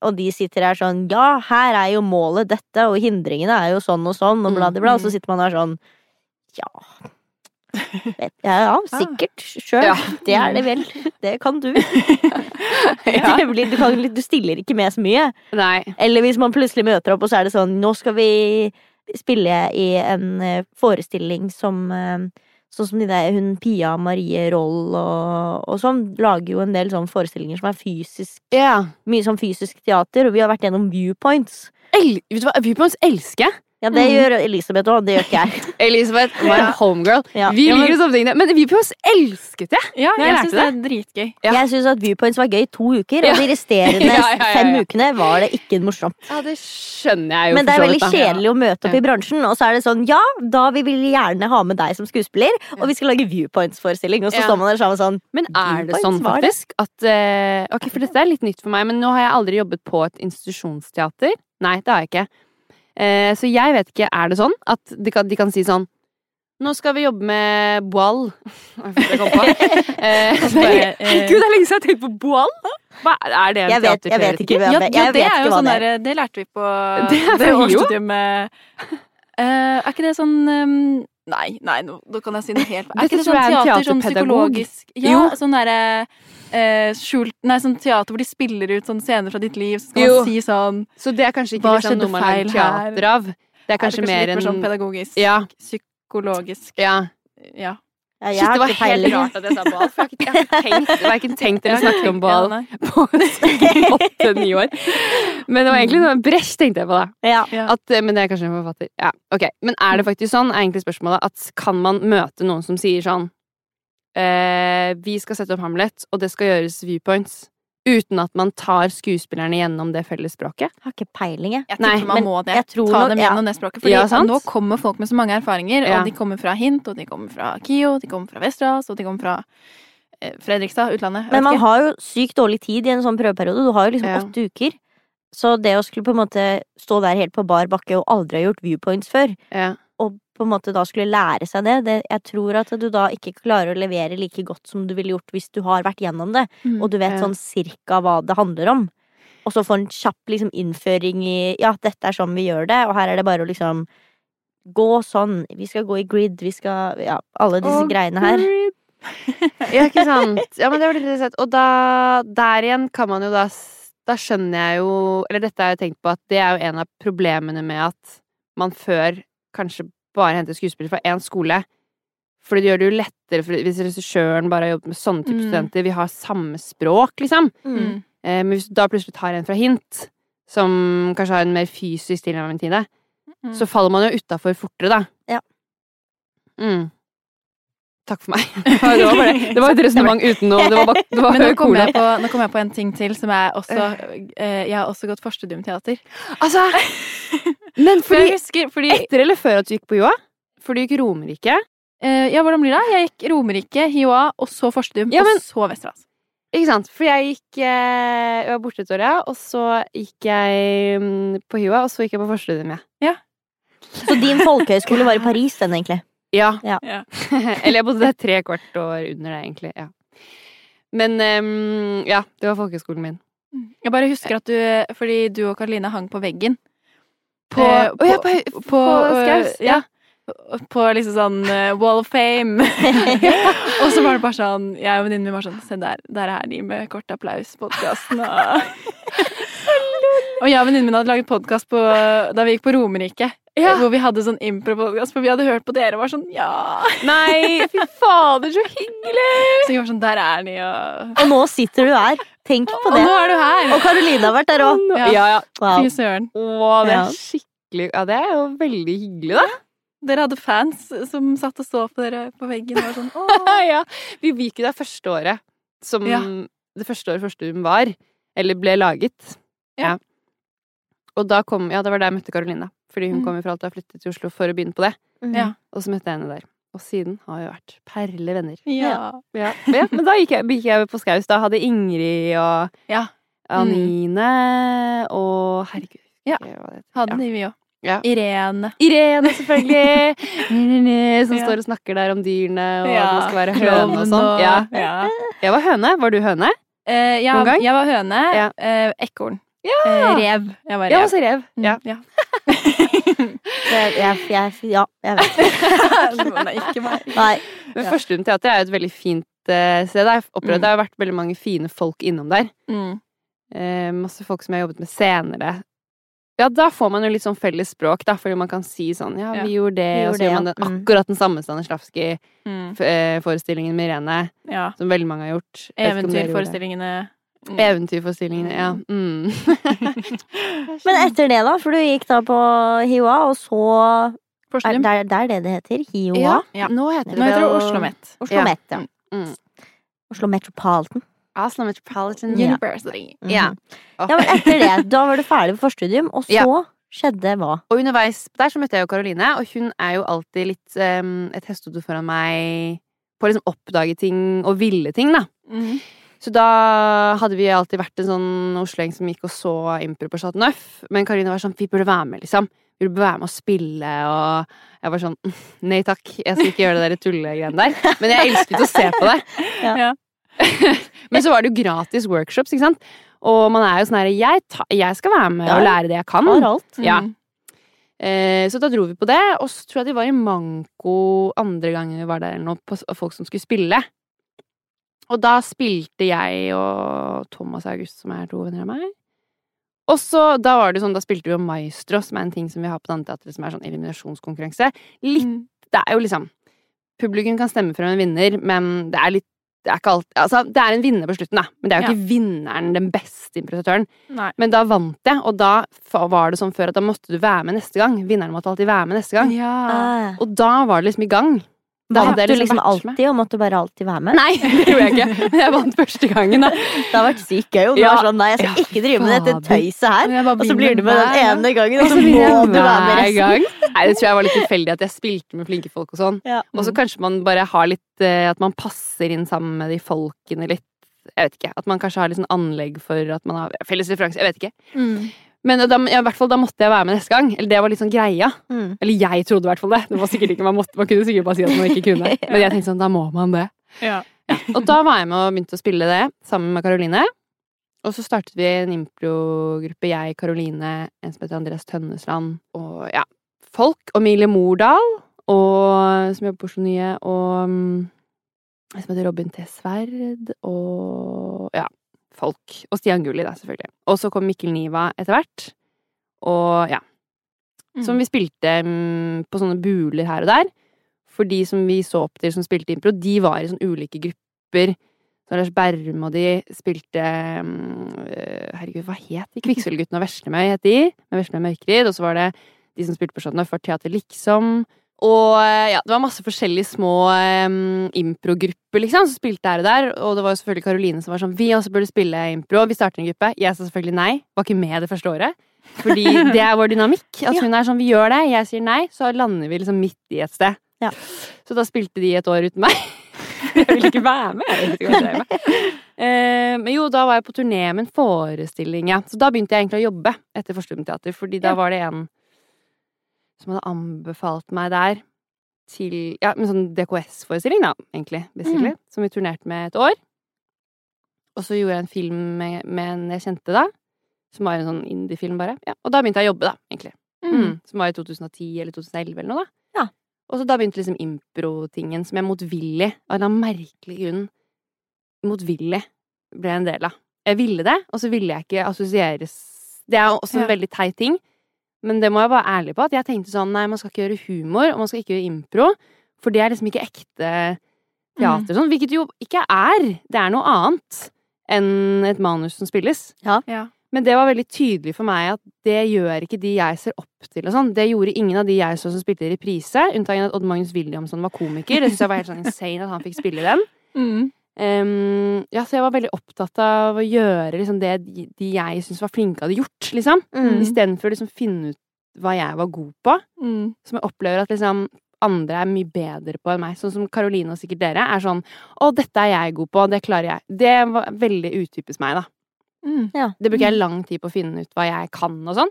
S1: og de sitter der sånn Ja, her er jo målet dette, og hindringene er jo sånn og sånn, og bla, bla, bla. Og
S4: Mm.
S1: så sitter man der sånn Ja. Vet, ja, ja, sikkert. Sjøl.
S4: Ah. Ja.
S1: Det er det vel. Det kan du. Det blir, du, kan, du stiller ikke med så mye.
S4: Nei.
S1: Eller hvis man plutselig møter opp, og så er det sånn Nå skal vi spille i en eh, forestilling som eh, Sånn som de der, hun Pia Marie Roll og, og sånn, lager jo en del sånne forestillinger som er fysisk
S4: Ja.
S1: mye sånn fysisk teater, og vi har vært gjennom viewpoints.
S4: El vet du hva? Viewpoints elsker jeg.
S1: Ja, det gjør Elisabeth òg, det gjør ikke jeg.
S4: Elisabeth var en homegirl.
S1: Ja.
S4: Vi
S2: Ja, men-
S4: liker sånne ting. der. Men Viewpoints elsket jeg!
S2: Ja,
S4: Jeg
S2: jeg
S4: lærte
S2: syns det er dritgøy.
S4: Ja.
S1: Jeg syns at viewpoints var gøy i to uker,
S4: Ja.
S1: og de resterende
S4: Ja, ja, ja,
S1: fem
S4: ja.
S1: ukene var det ikke morsomt.
S4: Ja, det skjønner jeg jo.
S1: Men det er
S4: for så
S1: veldig
S4: vidt, da.
S1: kjedelig å møte opp
S4: Ja.
S1: i bransjen, og så er det sånn Ja, da vil vi gjerne ha med deg som skuespiller, og vi skal lage viewpoints-forestilling, og så
S4: Ja.
S1: står man der sammen sånn
S4: Men er det
S1: Viewpoints
S4: sånn
S1: var det.
S4: faktisk at eh, Ok, for dette er litt nytt for meg, men nå har jeg aldri jobbet på et institusjonsteater. Nei, det har jeg ikke. Eh, så jeg vet ikke, er det sånn at de kan, de kan si sånn Nå skal vi jobbe med boal. Hva er det jeg kom på? Eh,
S2: Bare, eh,
S4: Gud, det er lenge siden jeg har tenkt på boal! Hva, er det en
S1: Jeg vet, jeg
S4: teaterteoretikk?
S1: vet ikke hva
S2: Ja,
S1: det,
S2: ja,
S1: jeg
S2: det
S1: vet
S2: er
S1: ikke
S2: jo
S1: hva det
S2: sånn
S1: er.
S2: der, det lærte vi på
S4: Det er
S2: det
S4: fra Rio.
S2: årsstudiet. er ikke det sånn ehm, Nei, nei, nå, nå kan jeg si noe helt Er
S4: Dette
S2: ikke det
S4: tror
S2: sånn
S4: jeg er en
S2: teater, sånn
S4: teaterpedagog.
S2: psykologisk Ja,
S4: Jo.
S2: sånn derre eh, skjult Nei, sånn teater hvor de spiller ut sånne scener fra ditt liv, så skal
S4: Jo.
S2: man si sånn
S4: Så det er kanskje ikke
S2: Hva
S4: liksom,
S2: skjedde
S4: noe man lager
S2: feil her?
S4: teater av. Det er
S2: er
S4: kanskje,
S2: det
S4: mer
S2: litt
S4: enn
S2: mer sånn pedagogisk,
S4: Ja.
S2: psykologisk
S4: ja.
S2: Ja.
S1: Ja, jeg
S4: Shit,
S1: har
S4: det var
S1: ikke
S4: helt
S1: peiling.
S4: rart at jeg sa ball. For jeg har ikke, jeg har ikke tenkt, verken tenkt eller snakket om ball
S2: Ja, nei.
S4: på sikkert åtte-ni år. Men det var egentlig noe bresj, tenkte jeg på da.
S1: Ja.
S2: Ja.
S4: At, eh, men det er kanskje en forfatter. Ja, ok. Men er det faktisk sånn, er egentlig spørsmålet, at kan man møte noen som sier sånn eh, Vi skal sette opp Hamlet, og det skal gjøres viewpoints. Uten at man tar skuespillerne gjennom det felles språket.
S1: Jeg har ikke peiling, jeg.
S2: Jeg
S4: Nei,
S2: tror man
S1: men
S2: må det.
S1: jeg tror
S2: Ta
S1: nok-
S2: dem
S1: ja.
S2: gjennom det språket. Fordi
S4: Ja, sant?
S2: nå kommer folk med så mange erfaringer,
S4: Ja.
S2: og de kommer fra Hint, og de kommer fra Kio, de kommer fra Vesterås, og de kommer fra eh, Fredrikstad, utlandet. Jeg
S1: Men
S2: vet
S1: man
S2: ikke.
S1: har jo sykt dårlig tid i en sånn prøveperiode. Du har jo liksom
S4: Ja.
S1: åtte uker. Så det å skulle på en måte stå der helt på bar bakke og aldri ha gjort viewpoints før,
S4: Ja.
S1: og på en måte da skulle lære seg det, det Jeg tror at du da ikke klarer å levere like godt som du ville gjort hvis du har vært gjennom det,
S2: Mm.
S1: og du vet
S4: Ja.
S1: sånn cirka hva det handler om. Og så få en kjapp liksom innføring i Ja, dette er sånn vi gjør det, og her er det bare å liksom Gå sånn. Vi skal gå i grid. Vi skal Ja, alle disse
S4: Å,
S1: greiene her.
S4: Ja, ikke sant? Ja, men det var litt interessant. Og da, der igjen kan man jo da s- Da skjønner jeg jo Eller dette har jeg tenkt på, at det er jo en av problemene med at man før kanskje bare henter skuespillere fra én skole. For det gjør det jo lettere for hvis regissøren bare har jobbet med sånne type
S2: Mm.
S4: studenter. Vi har samme språk, liksom.
S1: Mm.
S2: Mm.
S4: Eh, men hvis du da plutselig tar en fra hint, som kanskje har en mer fysisk tilnærming til det,
S2: Mm.
S4: så faller man jo utafor fortere, da.
S1: Ja.
S4: Mm. Takk for meg. Ja, det var bare det. Det var et resonnement uten noe Det var bare det var
S2: Men nå kom,
S4: cola.
S2: jeg på, nå kom jeg på en ting til som jeg også
S1: Øh.
S2: eh, Jeg har også gått forstudium teater.
S4: Altså Men
S2: For jeg
S4: fordi
S2: husker, fordi
S4: Etter eller før at du gikk på Joa? For du gikk Romerike.
S2: eh, Ja, hvordan blir det? Jeg gikk Romerike, HiOA, og så forstudium,
S4: Ja, men-
S2: og så Vesterålen.
S4: Ikke sant? For jeg gikk eh, Jeg var borte et år, ja. Og så gikk jeg mm, på Joa, og så gikk jeg på forstudium, ja.
S1: Så din folkehøyskole var i Paris, den, egentlig?
S4: Ja.
S1: Ja.
S2: Ja.
S4: Eller jeg bodde der tre kvart år under det, egentlig. Ja. Men ehm, ja, det var folkehøyskolen min.
S2: Jeg bare husker at du eh, Fordi du og Karoline hang på veggen.
S4: På,
S2: Eh,
S4: Å ja, på, høy- på,
S2: på, øh,
S4: Skaus.
S2: ja. på liksom sånn eh, Wall of Fame. og så var det bare sånn Jeg og venninnen min var sånn Se der, der er de med kort applaus-podkasten. Og, og jeg og venninnen min hadde laget podkast da vi gikk på Romerike.
S4: Ja.
S2: Hvor vi hadde sånn impro-podkast, for vi hadde hørt på dere og var sånn Ja!
S4: Nei, fy fader, så hyggelig!
S2: Så vi var sånn Der er de, og
S1: Og nå sitter du her. Tenk på
S2: Og
S1: det.
S2: nå er du her!
S1: Og Karoline har vært der òg.
S2: Ja.
S4: Ja, ja.
S1: Wow.
S2: Fy søren.
S4: Å, det
S1: Ja.
S4: er skikkelig Ja, det er jo veldig hyggelig, da.
S2: Dere hadde fans som satt og så på dere på veggen og var sånn Åh.
S4: ja. Vi gikk jo der første året som
S2: Ja.
S4: Det første året første hun var, eller ble laget.
S2: Ja.
S4: Og da kom Ja, det var der jeg møtte Karoline, da. Fordi hun
S2: Mm.
S4: kom jo fra Alta og flyttet til Oslo for å begynne på det.
S1: Mm.
S2: Ja.
S4: Og så møtte jeg henne der. Og siden har vi vært perlevenner.
S2: Ja.
S4: Ja. ja, men da gikk jeg, gikk jeg på Skaus. Da hadde Ingrid og
S2: Ja.
S4: Anine Mm. og Herregud,
S2: Ja.
S4: jeg husker hva det heter.
S2: Hadde de, vi òg.
S4: Ja.
S2: Irene.
S4: Irene, selvfølgelig! Som
S2: Ja.
S4: står og snakker der om dyrene, og at man skal være
S2: Klovn
S4: høne og sånn.
S2: og-
S4: Ja.
S2: ja.
S4: Jeg var høne. Var du høne?
S2: Eh, jeg,
S4: Noen gang?
S2: jeg var høne.
S4: Ja.
S2: Eh, ekorn. Eh, rev. Jeg var rev.
S4: Jeg var også rev.
S2: Mm,
S4: Ja.
S2: ja.
S1: Jeg, jeg, jeg, ja, jeg vet.
S2: Nei, ikke meg.
S1: Nei.
S4: Men
S2: Ja.
S4: Førstehund teater er jo et veldig fint eh, sted. Jeg har opplevd
S2: Mm.
S4: Det har vært veldig mange fine folk innom der.
S2: Mm.
S4: Eh, masse folk som jeg har jobbet med senere. Ja, da får man jo litt sånn felles språk, da, fordi man kan si sånn Ja,
S2: Ja.
S4: vi gjorde det,
S1: Vi
S4: og
S1: gjorde
S4: så
S1: det,
S4: gjør man
S1: ja.
S4: den,
S1: Mm.
S4: akkurat den samme Stanislavskij-forestillingen
S2: Mm.
S4: med Irene,
S2: Ja.
S4: som veldig mange har gjort. Jeg vet ikke om dere gjorde det.
S2: Eventyrforestillingene. Mm.
S4: Eventyrforestillingene, ja. Mm.
S1: Men etter det, da? For du gikk da på HiOA, og så er,
S2: Forskning.
S1: det, er- det er det det heter? HiOA?
S4: ja.
S2: Ja.
S4: Nå heter det
S2: Nå heter det
S4: vel-
S2: Oslo Met.
S1: Oslo
S4: Ja.
S1: Met, ja.
S4: Mm.
S1: Oslo Metropolitan.
S4: Oslo Metropolitan.
S1: Ja.
S2: University.
S1: Mhm.
S4: Mm. Ja.
S1: ja, men etter det. Da var du ferdig på forstudium, og så skjedde hva?
S4: Og underveis der så møtte jeg jo Karoline, og hun er jo alltid litt um, et hestehode foran meg på å liksom oppdage ting og ville ting, da.
S2: Mm.
S4: Så da hadde vi alltid vært en sånn oslogjeng som gikk og så impro på Chateau Neuf. Men Karoline var sånn 'Vi burde være med, liksom. Vi burde være med og spille', og jeg var sånn 'Nei takk, jeg skal ikke gjøre det der tullegreiene der'. Men jeg elsket å se på det.
S1: Ja.
S2: Ja.
S4: Men så var det jo gratis workshops, ikke sant. Og man er jo sånn herre jeg, ta- 'Jeg skal være med og
S1: Ja.
S4: lære det jeg kan'.
S1: Har alt.
S4: Ja.
S2: Mm.
S4: Eh, så da dro vi på det, og så tror jeg de var i manko andre gangen vi var der, eller noe, på s- folk som skulle spille. Og da spilte jeg og Thomas August, som er to venner av meg. Og så, da var det sånn, da spilte vi jo Maestro, som er en ting som vi har på Danteatret, som er sånn eliminasjonskonkurranse. Litt,
S2: Mm.
S4: det er jo liksom Publikum kan stemme frem en vinner, men det er litt det er ikke alt, altså, det er en vinner på slutten, da, men det er jo ikke vinneren, den beste improvisatøren.
S2: Nei.
S4: Men da vant jeg, og da fa- var det sånn før at da måtte du være med neste gang. Vinneren måtte alltid være med neste gang.
S2: Ja.
S1: Ah.
S4: Og da var det liksom i gang. Da
S1: Vant
S4: hadde jeg
S1: du liksom
S4: vært med.
S1: alltid, og måtte bare alltid være med?
S4: Nei, det gjorde jeg ikke. Men jeg vant første gangen, da.
S1: Det har vært sykt gøy om du
S4: Ja.
S1: var sånn nei, jeg skal
S4: Ja,
S1: ikke drive med dette
S4: fader.
S1: tøyset her.
S2: Jeg
S1: Og
S2: bare
S1: så blir du med den
S2: hver gang.
S1: ene gangen, og så
S4: blir jeg
S1: må du være med
S4: hver
S1: resten. Mm.
S4: gang. Nei, det tror jeg var litt tilfeldig at jeg spilte med flinke folk og sånn.
S1: Ja.
S4: Og så kanskje man bare har litt eh, At man passer inn sammen med de folkene litt. Jeg vet ikke. At man kanskje har litt sånn anlegg for at man har felles referanse. Jeg vet ikke.
S2: Mm.
S4: Men da, ja, i hvert fall, da måtte jeg være med neste gang. Eller det var litt sånn greia.
S1: Mm.
S4: Eller jeg trodde i hvert fall det. Det var sikkert ikke, man, måtte, man kunne sikkert bare si at man ikke kunne. Men jeg tenkte sånn, da må man det.
S2: Ja.
S4: Og da var jeg med og begynte å spille det sammen med Karoline. Og så startet vi en improgruppe, jeg, Karoline, en som heter Andreas Tønnesland, og ja, folk, og Mille Mordal, og, som jobber på Oslo Nye, og mm, en som heter Robin T. Sverd, og ja, folk. Og Stian Gulli, da, selvfølgelig. Og så kom Mikkel Niva etter hvert. Og ja,
S2: Mm.
S4: som vi spilte mm, på sånne buler her og der. For de som vi så opp til som spilte impro, de var i sånne ulike grupper. Så Lars Berrum og de spilte mm, øh, Herregud, hva het de? Kvikksølvgutten og Veslemøy het de. Med Veslemøy Mørkryd. Og så var det de som spilte på Chateau Neuf, var Teater Liksom. Og eh, ja, det var masse forskjellige små um, improgrupper, liksom, som spilte her og der. Og det var jo selvfølgelig Karoline som var sånn Vi også burde spille impro. Vi starter en gruppe. Jeg sa selvfølgelig nei. Var ikke med det første året. Fordi det er vår dynamikk. At hun er sånn Vi gjør det. Jeg sier nei. Så lander vi liksom midt i et sted.
S1: Ja.
S4: Så da spilte de et år uten meg. Jeg ville ikke være med.
S2: Mm.
S4: Jeg vet ikke hva jeg drev med. Eh, Men jo, da var jeg på turné med en forestilling, ja. Så da begynte jeg egentlig å jobbe etter Forstumt Teater, fordi da
S2: Ja.
S4: var det en som hadde anbefalt meg der til Ja, med sånn DKS-forestilling, da, egentlig, basically. Som vi turnerte med et år. Og så gjorde jeg en film med, med en jeg kjente da, som var en sånn indie-film, bare. Ja, og da begynte jeg å jobbe, da, egentlig.
S2: Mm.
S4: Som var i 2010 eller 2011 eller noe, da.
S1: Ja.
S4: Og så da begynte liksom impro-tingen som jeg motvillig, av en eller annen merkelig grunn, motvillig ble en del av. Jeg ville det, og så ville jeg ikke assosieres Det er jo også en
S2: Ja.
S4: veldig teit ting, men det må jeg være ærlig på, at jeg tenkte sånn nei, man skal ikke gjøre humor, og man skal ikke gjøre impro, for det er liksom ikke ekte
S2: Mm.
S4: teater sånn, hvilket jo ikke er. Det er noe annet enn et manus som spilles.
S2: Ja.
S4: Men det var veldig tydelig for meg at det gjør ikke de jeg ser opp til. Og sånn. det gjorde ingen av de jeg så som spilte i reprise, unntatt at Odd Magnus Williamson var komiker. Det synes jeg var helt sånn insane at han fikk spille den.
S2: Mm.
S4: Ehm, ja, så jeg var veldig opptatt av å gjøre liksom, det de de jeg syntes var flinke, hadde gjort. Liksom.
S1: Mm.
S4: Istedenfor å liksom, finne ut hva jeg var god på.
S2: Mm.
S4: Som jeg opplever at liksom andre er mye bedre på enn meg. Sånn som Karoline og sikkert dere er sånn 'Å, dette er jeg god på. Det klarer jeg.' Det var veldig utypisk meg, da.
S2: Mm.
S4: Det bruker jeg lang tid på å finne ut hva jeg kan og sånn.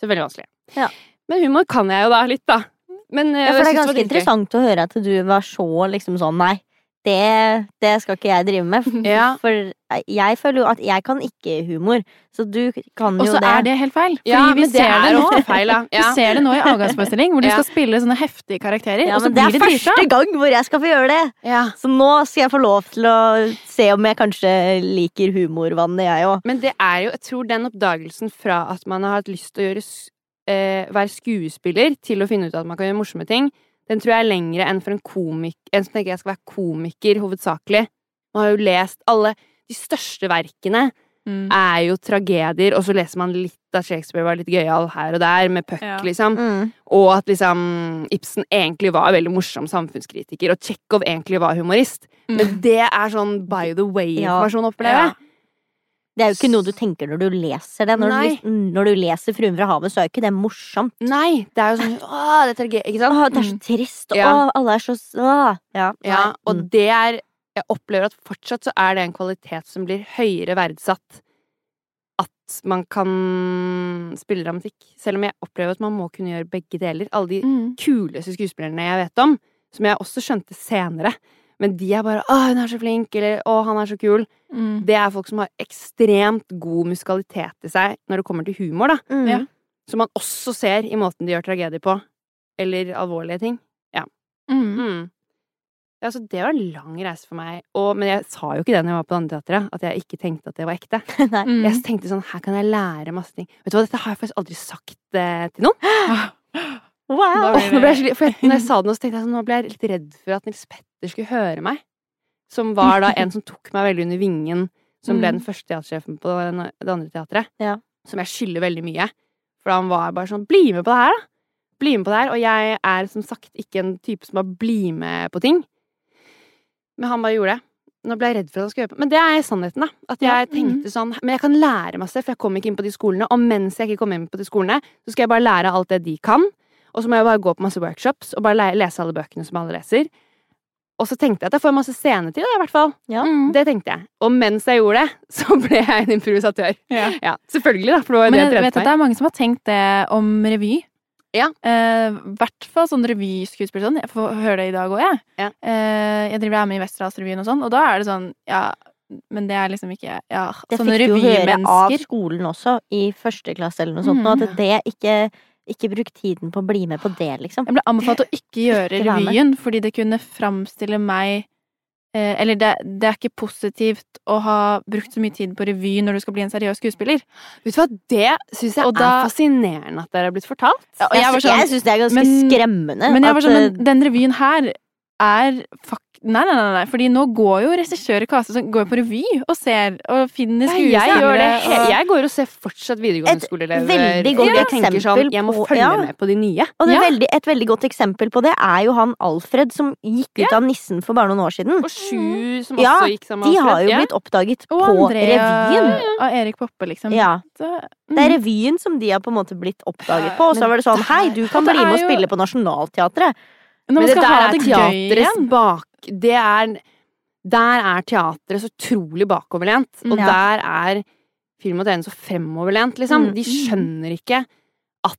S4: Så veldig vanskelig.
S1: Ja.
S4: Men humor kan jeg jo da litt, da. Men, eh,
S1: Ja, for det
S4: jeg
S1: er
S4: synes var
S1: ganske
S4: dritgøy.
S1: interessant å høre at du var så liksom sånn nei, det, det skal ikke jeg drive med.
S4: Ja.
S1: For jeg føler jo at jeg kan ikke humor, så du kan
S2: Og
S1: jo
S2: så
S1: det.
S2: er det helt feil. Fordi
S4: Ja,
S2: vi
S4: men det
S2: ser det
S4: er
S2: nå.
S4: ofte feil, da. Ja.
S2: Vi ser det nå i avgangsforestilling, hvor du
S4: Ja.
S2: skal spille sånne heftige karakterer.
S1: ja,
S2: og så
S1: men det
S2: blir
S1: er
S2: det drita.
S1: første gang hvor jeg skal få gjøre det!
S4: Ja.
S1: Så nå skal jeg få lov til å se om jeg kanskje liker humorvannet, jeg òg.
S4: Men det er jo, jeg tror den oppdagelsen fra at man har hatt lyst til å gjøre, s- eh, være skuespiller, til å finne ut at man kan gjøre morsomme ting, den tror jeg er lengre enn for en komik En som tenker jeg skal være komiker hovedsakelig. Man har jo lest alle de største verkene.
S2: Mm.
S4: er jo tragedier, og så leser man litt at Shakespeare var litt gøyal her og der, med puck,
S2: Ja.
S4: liksom.
S1: Mm.
S4: Og at liksom Ibsen egentlig var en veldig morsom samfunnskritiker, og Tsjekhov egentlig var humorist.
S2: Mm.
S4: Men det er sånn by the way-informasjon, opplever jeg.
S1: Det er jo ikke noe du tenker når du leser det. Når, du,
S4: Nei.
S1: lis- mm, når du leser 'Fruen fra havet', så er jo ikke det morsomt.
S4: Nei, det er jo sånn Åh, det er tragedie, ikke sant?
S1: Åh, det er så trist. Åh,
S4: Ja.
S1: alle er så åh. Ja,
S4: Ja,
S1: nei.
S4: og
S1: Mm.
S4: det er Jeg opplever at fortsatt så er det en kvalitet som blir høyere verdsatt. At man kan spille dramatikk. Selv om jeg opplever at man må kunne gjøre begge deler. Alle de
S2: Mm.
S4: kuleste skuespillerne jeg vet om, som jeg også skjønte senere. Men de er bare 'Å, hun er så flink', eller 'Å, han er så kul'.
S2: Mm.
S4: Det er folk som har ekstremt god musikalitet i seg når det kommer til humor, da.
S1: Mm.
S2: Ja.
S4: Som man også ser i måten de gjør tragedie på. Eller alvorlige ting.
S2: Mm.
S4: Mm. Ja, så det var en lang reise for meg. Og, men jeg sa jo ikke det når jeg var på Danneteatret, at jeg ikke tenkte at det var ekte.
S1: Nei.
S2: Mm.
S4: Jeg tenkte sånn, her kan jeg lære masse ting. Vet du hva, dette har jeg faktisk aldri sagt eh, til noen.
S1: Wow!
S2: Da
S4: Åh,
S2: blir
S4: nå
S2: det-
S4: ble jeg skikkelig- for jeg, når jeg sa det nå, så tenkte jeg sånn, nå ble jeg litt redd for at Nils Petter skulle høre meg. Som var da en som tok meg veldig under vingen, som ble
S2: Mm.
S4: den første teatersjefen på den- det andre teatret.
S1: Ja.
S4: Som jeg skylder veldig mye. For han var bare sånn, bli med på det her da! Bli med på det her, og jeg er som sagt ikke en type som bare blir med på ting. Men han bare gjorde det. Nå ble jeg redd for at han skulle høre på. Men det er sannheten, da. At jeg
S2: Ja, mhm.
S4: tenkte sånn Men jeg kan lære masse, for jeg kom ikke inn på de skolene. Og mens jeg ikke kom inn på de skolene, så skal jeg bare lære alt det de kan. Og så må jeg bare gå på masse workshops og bare le- lese alle bøkene som alle leser. Og så tenkte jeg at jeg får masse scenetid, da, i hvert fall.
S1: Ja.
S2: Mm.
S4: Det tenkte jeg. Og mens jeg gjorde det, så ble jeg en improvisatør.
S2: Ja.
S4: Ja, selvfølgelig, da, for det var jo
S2: Men jeg
S4: det jeg
S2: vet
S4: trente
S2: at det
S4: meg.
S2: er mange som har tenkt det om revy.
S4: Ja.
S2: Eh, hvert fall sånn revyskuespiller sånn. Jeg får høre det i dag òg, jeg.
S4: Ja.
S2: Eh, jeg driver og er med i Westerdalsrevyen og sånn, og da er det sånn Ja, men det er liksom ikke Ja,
S1: Det
S2: sånne
S1: fikk du jo høre av
S2: revymennesker.
S1: skolen også, i første klasse eller noe sånt.
S2: Mm.
S1: og at det ikke, ikke bruk tiden på å bli med på det, liksom.
S2: Jeg ble anbefalt å ikke gjøre
S1: Ikke være med.
S2: revyen, fordi det kunne framstille meg eh, Eller det, det er ikke positivt å ha brukt så mye tid på revy når du skal bli en seriøs skuespiller.
S4: Vet du hva, det syns jeg
S2: Og da-
S4: er fascinerende at dere har blitt fortalt.
S2: Ja, og jeg var
S1: sy-
S2: sånn-
S1: jeg syns det er ganske
S2: Men-
S1: skremmende.
S2: Men jeg
S1: at,
S2: var sånn,
S1: eh,
S2: men den revyen her er fuck, nei, nei, nei, nei, fordi nå går jo regissør Kase som går på revy og ser og finner
S4: Nei, jeg gjør
S2: skuespillere.
S4: det. he-
S2: og-
S4: Jeg går og ser fortsatt videregående
S1: Et
S4: skoleelever.
S1: veldig godt
S4: jeg tenker sånn,
S1: eksempel
S4: jeg må
S1: på-
S4: følge
S1: ja.
S4: med på de nye.
S1: og det er
S2: Ja.
S1: veldig, et veldig godt eksempel på det er jo han Alfred som gikk ut av Nissen for bare noen år siden.
S4: Og Sju, som
S1: Ja,
S4: også gikk sammen
S1: De
S4: med
S1: har
S4: Alfred.
S1: jo
S4: Ja.
S1: blitt oppdaget
S2: Og
S1: på
S2: Andrea
S1: revyen.
S2: og Erik Poppe, liksom.
S1: Ja,
S2: Så,
S1: Det er
S2: mm.
S1: revyen som de har på en måte blitt oppdaget på. Og så var det sånn
S4: det er-
S1: Hei, du kan
S2: Og det
S1: bli med
S2: er
S1: og
S2: jo-
S1: spille på Nationaltheatret.
S2: Når man
S4: Men det
S2: skal
S4: der
S2: ha
S4: er
S2: det gøy
S4: teaterets
S2: igjen.
S4: bak... Det er, der er teatret så utrolig bakoverlent. Og
S2: Ja.
S4: der er film og TV så fremoverlent, liksom.
S1: Mm.
S4: De skjønner ikke at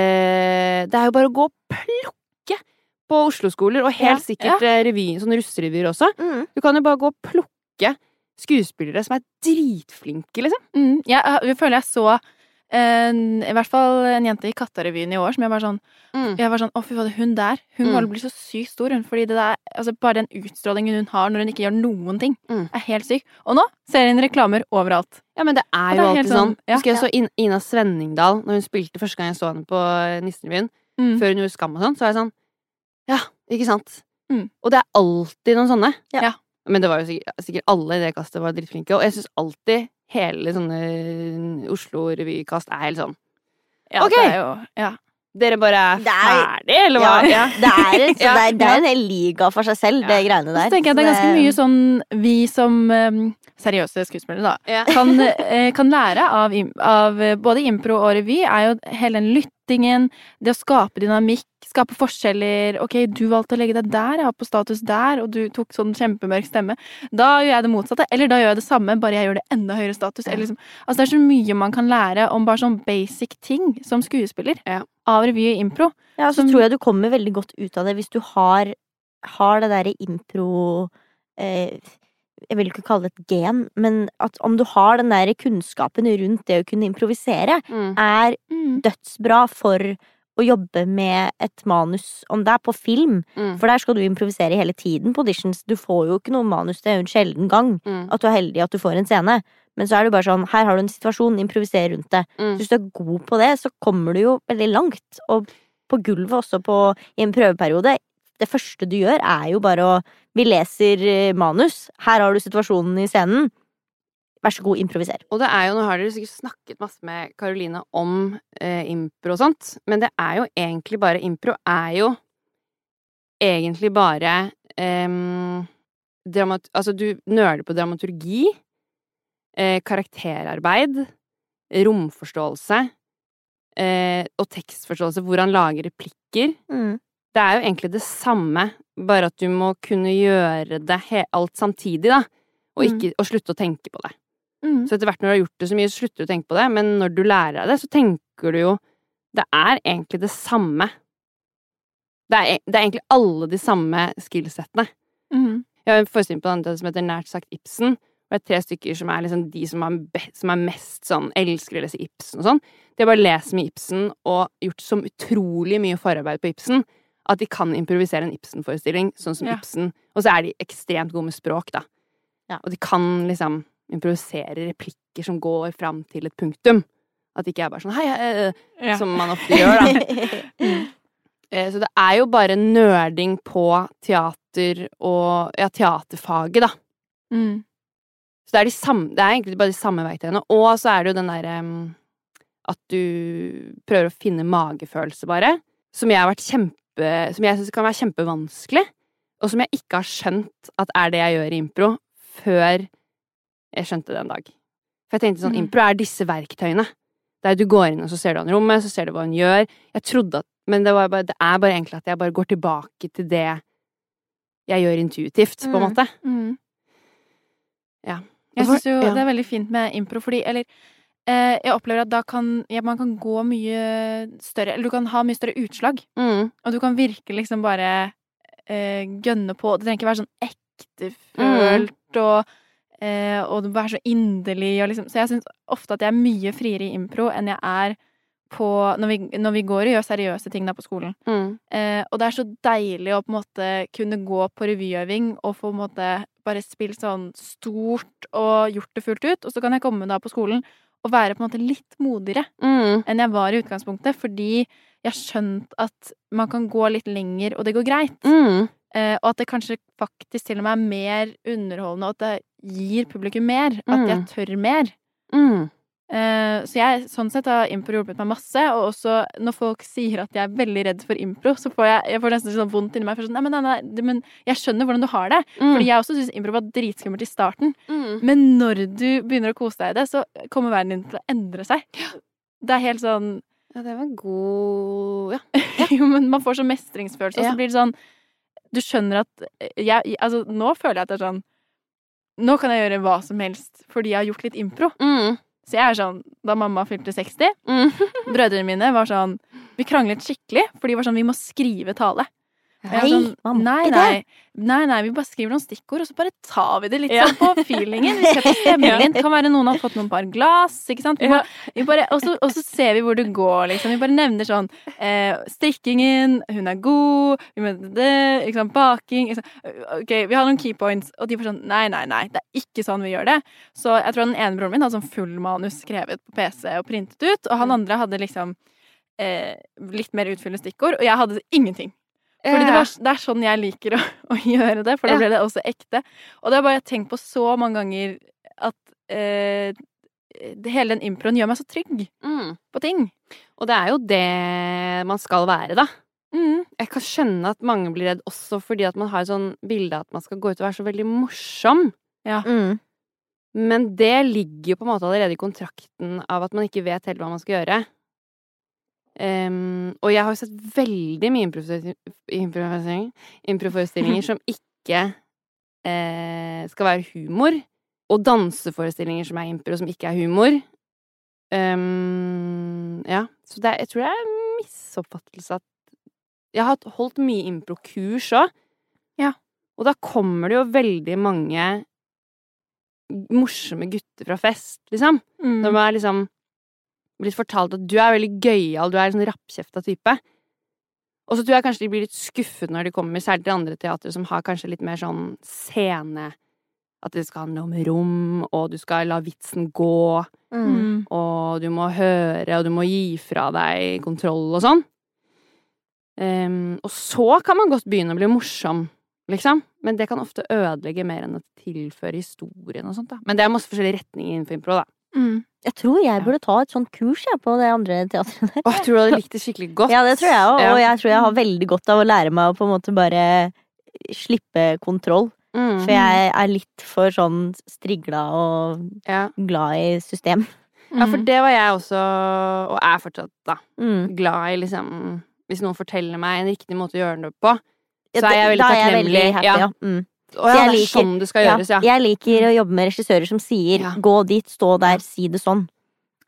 S4: eh, Det er jo bare å gå og plukke på Oslo-skoler, og helt
S2: Ja,
S4: sikkert eh, revy, sånne russerevyer også.
S1: Mm.
S4: Du kan jo bare gå og plukke skuespillere som er dritflinke, liksom.
S2: Mm. Jeg, jeg føler jeg så en- I hvert fall en jente i Kattarevyen i år som jeg bare sånn
S4: Mm.
S2: Jeg var sånn, å fy fader, hun der Hun
S4: Mm.
S2: kommer til å bli så sykt stor hun, Fordi det der, altså bare den utstrålingen hun har Når hun ikke gjør noen ting
S4: Mm.
S2: Er helt syk Og nå ser hun reklamer overalt
S4: Ja, men det er
S2: det
S4: jo
S2: er helt
S4: alltid sånn.
S2: sånn, ja.
S4: Husker jeg så In Ina Svenningdal når hun spilte første gang jeg så henne på eh, Nissenrevyen.
S2: Mm.
S4: Før hun gjorde Skam og sånn, så var jeg sånn Ja, ikke sant?
S2: Mm.
S4: Og det er alltid noen sånne.
S1: Ja.
S2: Ja.
S4: Men det var jo sikkert, sikkert alle i det kastet var drittflinke, og jeg syns alltid hele sånne Oslo-revykast er helt sånn
S2: ja,
S4: Ok.
S2: det er jo, ja.
S4: Dere bare er
S1: Det er-
S4: ferdig, eller hva?
S1: Ja, det er, en- så
S4: Ja.
S1: det er, det er en hel liga for seg selv, det greiene der.
S2: Så tenker jeg det er ganske mye sånn Vi som eh, seriøse skuespillere da
S4: Ja.
S2: kan, eh, kan lære av, im- av eh, både impro og revy, er jo hele den lyttingen, det å skape dynamikk, skape forskjeller. Ok, du valgte å legge deg der, jeg var på status der, og du tok sånn kjempemørk stemme. Da gjør jeg det motsatte, eller da gjør jeg det samme, bare jeg gjør det enda høyere status. Eller liksom. Altså, det er så mye man kan lære om bare sånn basic ting som skuespiller.
S4: Ja.
S2: Av revy og impro.
S1: Ja, så
S2: som-
S1: tror jeg du kommer veldig godt ut av det hvis du har, har det derre impro eh, Jeg vil ikke kalle det et gen, men at om du har den derre kunnskapen rundt det å kunne improvisere,
S4: Mm.
S1: er dødsbra for å jobbe med et manus, om det er på film.
S4: Mm.
S1: For der skal du improvisere hele tiden på auditions. Du får jo ikke noe manus, det er jo en sjelden gang
S4: Mm.
S1: at du er heldig at du får en scene. Men så er det bare sånn, her har du en situasjon, improviser rundt det.
S4: Mm.
S1: Så hvis du er god på det, så kommer du jo veldig langt. Og på gulvet også på, i en prøveperiode. Det første du gjør, er jo bare å Vi leser eh, manus. Her har du situasjonen i scenen. Vær så god, improviser.
S4: Og det er jo, nå har dere sikkert snakket masse med Karoline om eh, impro og sånt, men det er jo egentlig bare impro er jo egentlig bare em, dramat, Altså, du nøler på dramaturgi, eh, karakterarbeid, romforståelse eh, og tekstforståelse, hvordan lage replikker. Det er jo egentlig det samme, bare at du må kunne gjøre det he alt samtidig, da, og,
S2: Mm.
S4: ikke, og slutte å tenke på det. Så etter hvert når du har gjort det så mye, så slutter du å tenke på det. Men når du lærer deg det, så tenker du jo Det er egentlig det samme. Det er, e, det er egentlig alle de samme skillsettene.
S2: Mm.
S4: Jeg har en forestilling på det som heter Nært sagt Ibsen. Og det er tre stykker som er liksom de som er, be, som er mest sånn elsker å lese Ibsen og sånn. De har bare lest mye Ibsen og gjort så utrolig mye forarbeid på Ibsen at de kan improvisere en Ibsen-forestilling, sånn som
S2: Ja.
S4: Ibsen. Og så er de ekstremt gode med språk, da.
S1: Ja.
S4: Og de kan liksom improvisere replikker som går fram til et punktum. At det ikke er bare sånn hei, hei, hei,
S2: Ja.
S4: som man ofte gjør, da. Eh, Så det er jo bare nerding på teater og ja, teaterfaget, da.
S2: Mm.
S4: Så det er, de samme, det er egentlig bare de samme verktøyene. Og så er det jo den derre um, at du prøver å finne magefølelse, bare. Som jeg har vært kjempe Som jeg syns kan være kjempevanskelig. Og som jeg ikke har skjønt at er det jeg gjør i impro, før jeg skjønte det en dag. For jeg tenkte sånn,
S2: Mm.
S4: impro er disse verktøyene. Det er Du går inn, og så ser du han i rommet, så ser du hva hun gjør. Jeg trodde at Men det, var bare, det er bare egentlig at jeg bare går tilbake til det jeg gjør intuitivt, på en
S1: Mm.
S4: måte.
S2: Mm.
S4: Ja.
S2: Jeg
S4: Og så-
S2: syns jo
S4: ja.
S2: det er veldig fint med impro, fordi eller eh, jeg opplever at da kan ja, man kan gå mye større Eller du kan ha mye større utslag,
S4: Mm.
S2: og du kan virke liksom bare eh, gønne på. Det trenger ikke være sånn ektefølt og eh, Og du må være så inderlig og liksom Så jeg syns ofte at jeg er mye friere i impro enn jeg er på Når vi, når vi går og gjør seriøse ting da på skolen.
S4: Mm.
S2: Eh, og det er så deilig å på en måte kunne gå på revyøving og få på en måte bare spilt sånn stort og gjort det fullt ut. Og så kan jeg komme da på skolen og være på en måte litt modigere
S4: Mm.
S2: enn jeg var i utgangspunktet, fordi jeg har skjønt at man kan gå litt lenger, og det går greit.
S4: Mm.
S2: Eh, og at det kanskje faktisk til og med er mer underholdende, og at det gir publikum mer. At
S4: Mm.
S2: jeg tør mer.
S4: Mm.
S2: Eh, Så jeg, sånn sett har impro hjulpet meg masse. Og også når folk sier at jeg er veldig redd for impro, så får jeg, jeg får nesten sånn vondt inni meg. For sånn, nei, men, nei, nei, men jeg skjønner hvordan du har det.
S4: Mm.
S2: Fordi jeg også syns impro var dritskummelt i starten. Men når du begynner å kose deg i det, så kommer verden din til å endre seg. Det er helt sånn
S4: Ja, det var en god Ja.
S2: Jo, men man får sånn mestringsfølelse, og
S4: Ja.
S2: så blir det sånn Du skjønner at jeg, Altså, nå føler jeg at det er sånn Nå kan jeg gjøre hva som helst fordi jeg har gjort litt impro.
S4: Mm,
S2: Så jeg er sånn Da mamma fylte 60, Brødrene mine var sånn Vi kranglet skikkelig, for de var sånn Vi må skrive tale. Jeg er
S1: Nei, man må
S2: nei,
S1: ikke
S2: nei, nei, nei, vi bare skriver noen stikkord, og så bare tar vi det litt
S4: Ja.
S2: sånn på feelingen. Vi setter stemningen. Det kan være noen har fått noen par glass, ikke sant. Vi
S4: Ja.
S2: må, vi bare, og, så, og så ser vi hvor det går, liksom. Vi bare nevner sånn eh, strikkingen, hun er god, vi mener det, ikke sant, baking ikke sant? Ok, vi har noen key points, og de får sånn nei, nei, nei, det er ikke sånn vi gjør det. Så jeg tror den ene broren min hadde sånn full manus skrevet på PC og printet ut, og han andre hadde liksom eh, litt mer utfyllende stikkord, og jeg hadde ingenting. Fordi
S4: Eh,
S2: det, var, det er sånn jeg liker å, å gjøre det, for da
S4: Ja.
S2: ble det også ekte. Og det har bare jeg tenkt på så mange ganger at eh, det, hele den improen gjør meg så trygg
S4: Mm.
S2: på ting.
S4: Og det er jo det man skal være, da.
S2: Mm.
S4: Jeg kan skjønne at mange blir redd også fordi at man har et sånn bilde at man skal gå ut og være så veldig morsom.
S1: Mm.
S4: Men det ligger jo på en måte allerede i kontrakten av at man ikke vet helt hva man skal gjøre. Ehm, og jeg har jo sett veldig mye improvisering- improvisering- improforestillinger som ikke eh, skal være humor. Og danseforestillinger som er impro, som ikke er humor. Ehm, ja. Så det er, jeg tror det er en misoppfattelse at Jeg har hatt- holdt mye improkurs òg.
S2: Ja.
S4: Og da kommer det jo veldig mange morsomme gutter fra fest, liksom.
S2: Mm.
S4: Når man er liksom blitt fortalt at du er veldig gøyal, du er en sånn rappkjefta type. Og så tror jeg kanskje de blir litt skuffet når de kommer, særlig til andre teatre som har kanskje litt mer sånn scene At det skal handle om rom, og du skal la vitsen gå,
S1: Mm.
S2: Mm.
S4: og du må høre, og du må gi fra deg kontroll og sånn. Ehm, og så kan man godt begynne å bli morsom, liksom. Men det kan ofte ødelegge mer enn å tilføre historien og sånt, da. Men det er masse forskjellige retninger innenfor impro, da.
S2: Mm.
S1: Jeg tror jeg burde ta et sånt kurs jeg, på det andre teatret der.
S4: Åh, tror du hadde likt det skikkelig godt?
S1: Ja, det tror jeg òg.
S4: Ja.
S1: Og jeg tror jeg har veldig godt av å lære meg å på en måte bare slippe kontroll.
S4: Mm.
S1: For jeg er litt for sånn strigla og
S4: Ja.
S1: glad i system.
S4: ja,
S2: Mm.
S4: for det var jeg også, og er fortsatt, da,
S1: Mm.
S4: glad i liksom Hvis noen forteller meg en riktig måte å gjøre det på, så er jeg veldig
S1: Da
S4: takknemlig.
S1: happy,
S4: Ja.
S1: ja. Mm.
S4: Å ja,
S1: jeg
S4: det er
S1: liker-
S4: sånn det skal gjøres, ja. Mm.
S1: Jeg liker å jobbe med regissører som sier
S4: Ja.
S1: 'gå dit, stå der, si det sånn'.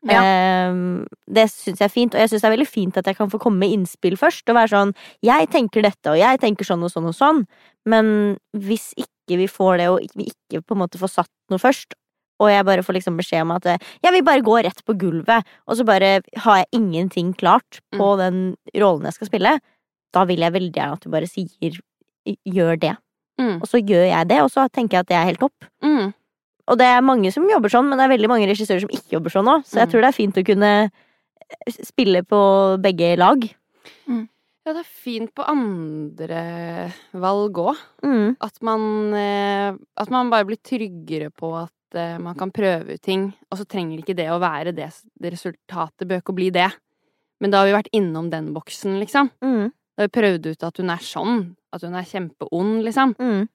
S2: Ja.
S1: Ehm, det syns jeg er fint, og jeg syns det er veldig fint at jeg kan få komme med innspill først. Og være sånn 'jeg tenker dette, og jeg tenker sånn og sånn og sånn'. Men hvis ikke vi får det, og vi ikke på en måte får satt noe først, og jeg bare får liksom beskjed om at eh, 'jeg vil bare gå rett på gulvet', og så bare har jeg ingenting klart på
S4: Mm.
S1: den rollen jeg skal spille, da vil jeg veldig gjerne at du bare sier 'gjør det'.
S4: Mm.
S1: Og så gjør jeg det, og så tenker jeg at det er helt topp.
S4: Mm.
S1: Og det er mange som jobber sånn, men det er veldig mange regissører som ikke jobber sånn òg. Så jeg
S4: Mm.
S1: tror det er fint å kunne eh, spille på begge lag.
S4: Ja, det er fint på andre valg òg.
S1: Mm.
S4: At man eh, At man bare blir tryggere på at eh, man kan prøve ut ting, og så trenger ikke det å være det, det resultatet bør ikke å bli det. Men da har vi vært innom den boksen, liksom.
S1: Mm.
S4: Da har vi prøvd ut at hun er sånn. At hun er kjempeond, liksom.
S1: Mm.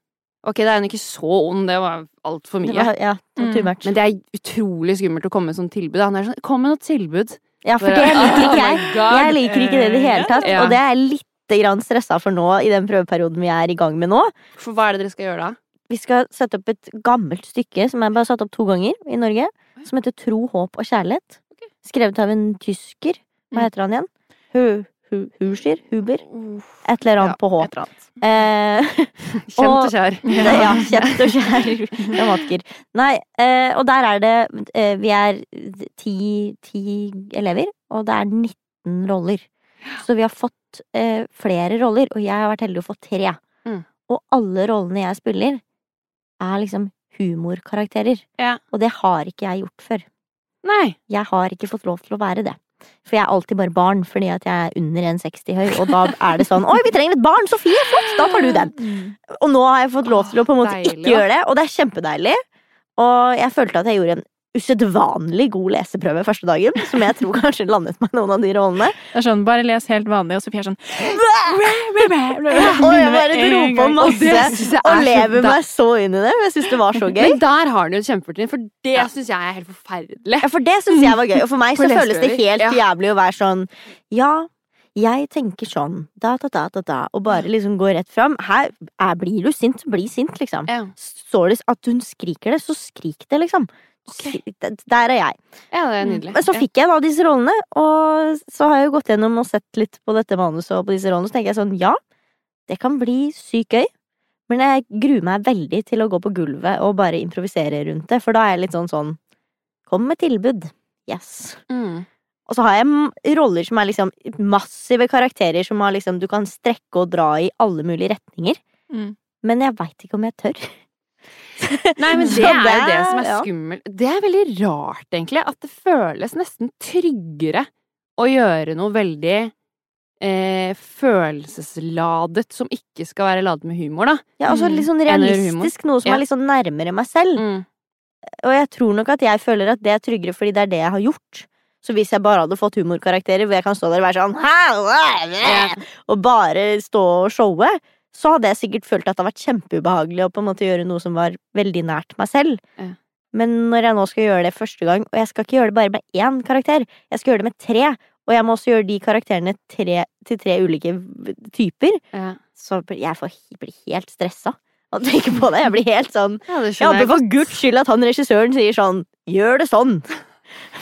S4: Ok, da er hun ikke så ond, det var altfor
S1: Det
S4: mye.
S1: var, ja, det var too
S2: Mm.
S1: much.
S4: Men det er utrolig skummelt å komme med sånn tilbud. da. Han er sånn, kom med noe tilbud. Oh
S1: Ja, for det liker ikke jeg. Jeg liker ikke det i det hele tatt,
S4: Ja.
S1: og det er jeg lite grann stressa for nå i den prøveperioden vi er i gang med nå.
S4: For hva er det dere skal gjøre da?
S1: Vi skal sette opp et gammelt stykke som er bare satt opp to ganger i Norge, som heter Tro, håp og kjærlighet. Skrevet av en tysker.
S2: Mm.
S1: Hva heter han igjen? Hu, hu, Husir? Huber? Et eller annet på H.
S2: Et eller annet.
S1: Eh,
S4: Kjent og,
S1: Og-
S4: kjær.
S1: Det, ja, kjent og kjær dramatiker. Nei, eh, og der er det eh, Vi er ti, ti elever, og det er 19 roller. Så vi har fått eh, flere roller, og jeg har vært heldig å få tre.
S4: Mm.
S1: Og alle rollene jeg spiller, er liksom humorkarakterer.
S4: Ja.
S1: Og det har ikke jeg gjort før.
S4: Nei.
S1: Jeg har ikke fått lov til å være det. For jeg er alltid bare barn, fordi at jeg er under 1,60 høy. Og da er det sånn 'Oi, vi trenger et barn! Sofie, flott! Da tar du den!' Og nå har jeg fått lov til å på en måte
S4: Åh, Mm. deilig,
S1: ikke gjøre det, og det er kjempedeilig. Og jeg følte at jeg gjorde en usedvanlig god leseprøve første dagen, som jeg tror kanskje landet meg noen av de rollene.
S2: Det er sånn, bare les helt vanlig, og Sofie er sånn
S1: Og jeg bare dro på masse
S4: synes jeg
S1: og
S4: så
S1: lever
S4: da-
S1: meg så inn i det, men jeg syns det var så gøy.
S4: Men der har du et kjempefortrinn, for det synes syns jeg er helt forferdelig.
S1: Ja, for det syns jeg var gøy, og for meg
S4: For
S1: så føles det
S4: leseprøver,
S1: helt
S4: ja.
S1: jævlig å være sånn Ja, jeg tenker sånn, da, da, da, da, da, og bare liksom gå rett fram. Her er, blir du sint, bli sint, liksom.
S4: Ja.
S1: Står det at hun skriker det, så skrik det, liksom.
S4: Ok.
S1: Skri- Der er jeg.
S4: ja, det er nydelig.
S1: Men så fikk jeg da disse rollene, og så har jeg jo gått gjennom og sett litt på dette manuset og på disse rollene, så tenker jeg sånn, ja, Det kan bli sykt gøy. Men jeg gruer meg veldig til å gå på gulvet og bare improvisere rundt det, for da er jeg litt sånn sånn Kom med tilbud. Yes.
S4: Mm.
S1: Og så har jeg m- roller som er liksom massive karakterer som har liksom du kan strekke og dra i alle mulige retninger.
S2: Mm.
S1: Men jeg veit ikke om jeg tør.
S4: Nei, men
S1: Så
S4: det er jo
S1: det-
S4: det som er
S1: ja.
S4: skummelt. Det er veldig rart, egentlig, at det føles nesten tryggere å gjøre noe veldig eh, følelsesladet som ikke skal være ladet med humor, da.
S1: Ja, altså
S2: Mm.
S1: litt sånn
S4: Eller humor.
S1: realistisk, noe som
S4: Ja.
S1: er litt sånn nærmere meg selv. Og jeg tror nok at jeg føler at det er tryggere fordi det er det jeg har gjort. Så hvis jeg bare hadde fått humorkarakterer hvor jeg kan stå der og være sånn «Hæ, hæ, hæ», Og bare stå og showe, så hadde jeg sikkert følt at det hadde vært kjempeubehagelig å på en måte gjøre noe som var veldig nært meg selv.
S4: Ja.
S1: Men når jeg nå skal gjøre det første gang, og jeg skal ikke gjøre det bare med én karakter, jeg skal gjøre det med tre, og jeg må også gjøre de karakterene tre, til tre ulike v- typer,
S4: Ja.
S1: så blir- jeg får, blir helt stressa av å tenke på det. Jeg blir helt sånn
S4: ja, det
S1: jeg
S4: skjønner
S1: håper for guds skyld at han regissøren sier sånn Gjør det sånn!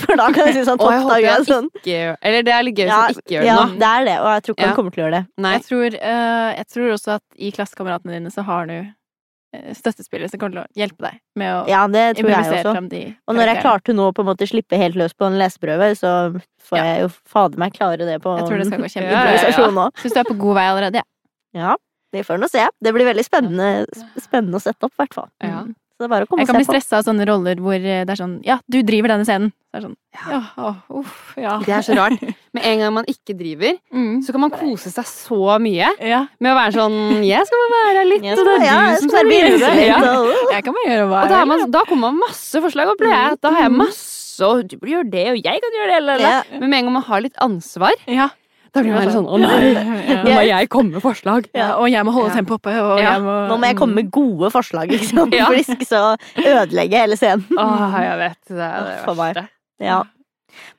S1: For da kan jeg si sånn
S4: Og jeg
S1: topp
S4: håper
S1: dag
S4: jeg
S1: er sånn.
S4: ikke gjør Eller det er litt gøy hvis
S1: Ja,
S4: han ikke gjør det
S1: ja,
S4: nå.
S1: det er det, og jeg tror ikke
S4: Ja.
S1: han kommer til å gjøre det.
S4: Nei.
S2: Jeg tror, eh, jeg tror også at i klassekameratene dine så har du eh, støttespillere som kommer til å hjelpe deg med å
S1: Ja, det tror jeg
S2: improvisere
S1: også.
S2: fram de
S1: Og når jeg
S2: karakterene.
S1: klarte nå å på en måte slippe helt løs på en leseprøve, så får
S2: Ja.
S1: jeg jo fader meg klare det på
S2: Jeg tror det skal gå kjempebra.
S4: Ja, ja, ja.
S1: improvisasjon òg.
S2: Syns du er på god vei allerede, ja.
S1: Ja, vi får nå se. Det blir veldig spennende, sp- spennende å sette opp, i hvert fall.
S4: Ja.
S1: Så det er bare å komme
S2: Jeg kan bli
S1: og se på.
S2: stressa av sånne roller hvor eh, det er sånn Ja, du driver denne scenen. Det er sånn Ja, å, uff, ja.
S4: Det er så rart. Med en gang man ikke driver,
S2: Mm.
S4: så kan man kose seg så mye
S2: Ja.
S4: med å være sånn 'Jeg skal bare være her litt',
S1: Jeg
S4: og
S1: skal-
S4: det er
S1: ja,
S4: du
S1: jeg
S4: som
S1: skal
S4: skal
S1: bidra
S4: drive.
S1: litt,
S4: Ja.
S1: og-
S2: Jeg kan bare gjøre hva
S4: Og da,
S2: jeg
S4: er man, da kommer man masse forslag, og ble, da har jeg masse og du burde gjøre det, og jeg kan gjøre det, eller, eller.
S1: Mm. Ja.
S4: Men med en gang man har litt ansvar,
S2: vil. Ja.
S4: da blir man litt sånn 'Å nei, nå må jeg komme med forslag'.
S2: Ja, og jeg må holde
S4: Ja.
S2: tempoet oppe. Og
S4: Ja.
S2: jeg må,
S1: Nå må jeg komme med gode forslag, liksom.
S4: Ja.
S1: For de skal så ødelegge hele scenen.
S4: Åh, jeg vet. Det er det
S1: Uff, for meg.
S4: verste.
S1: Ja.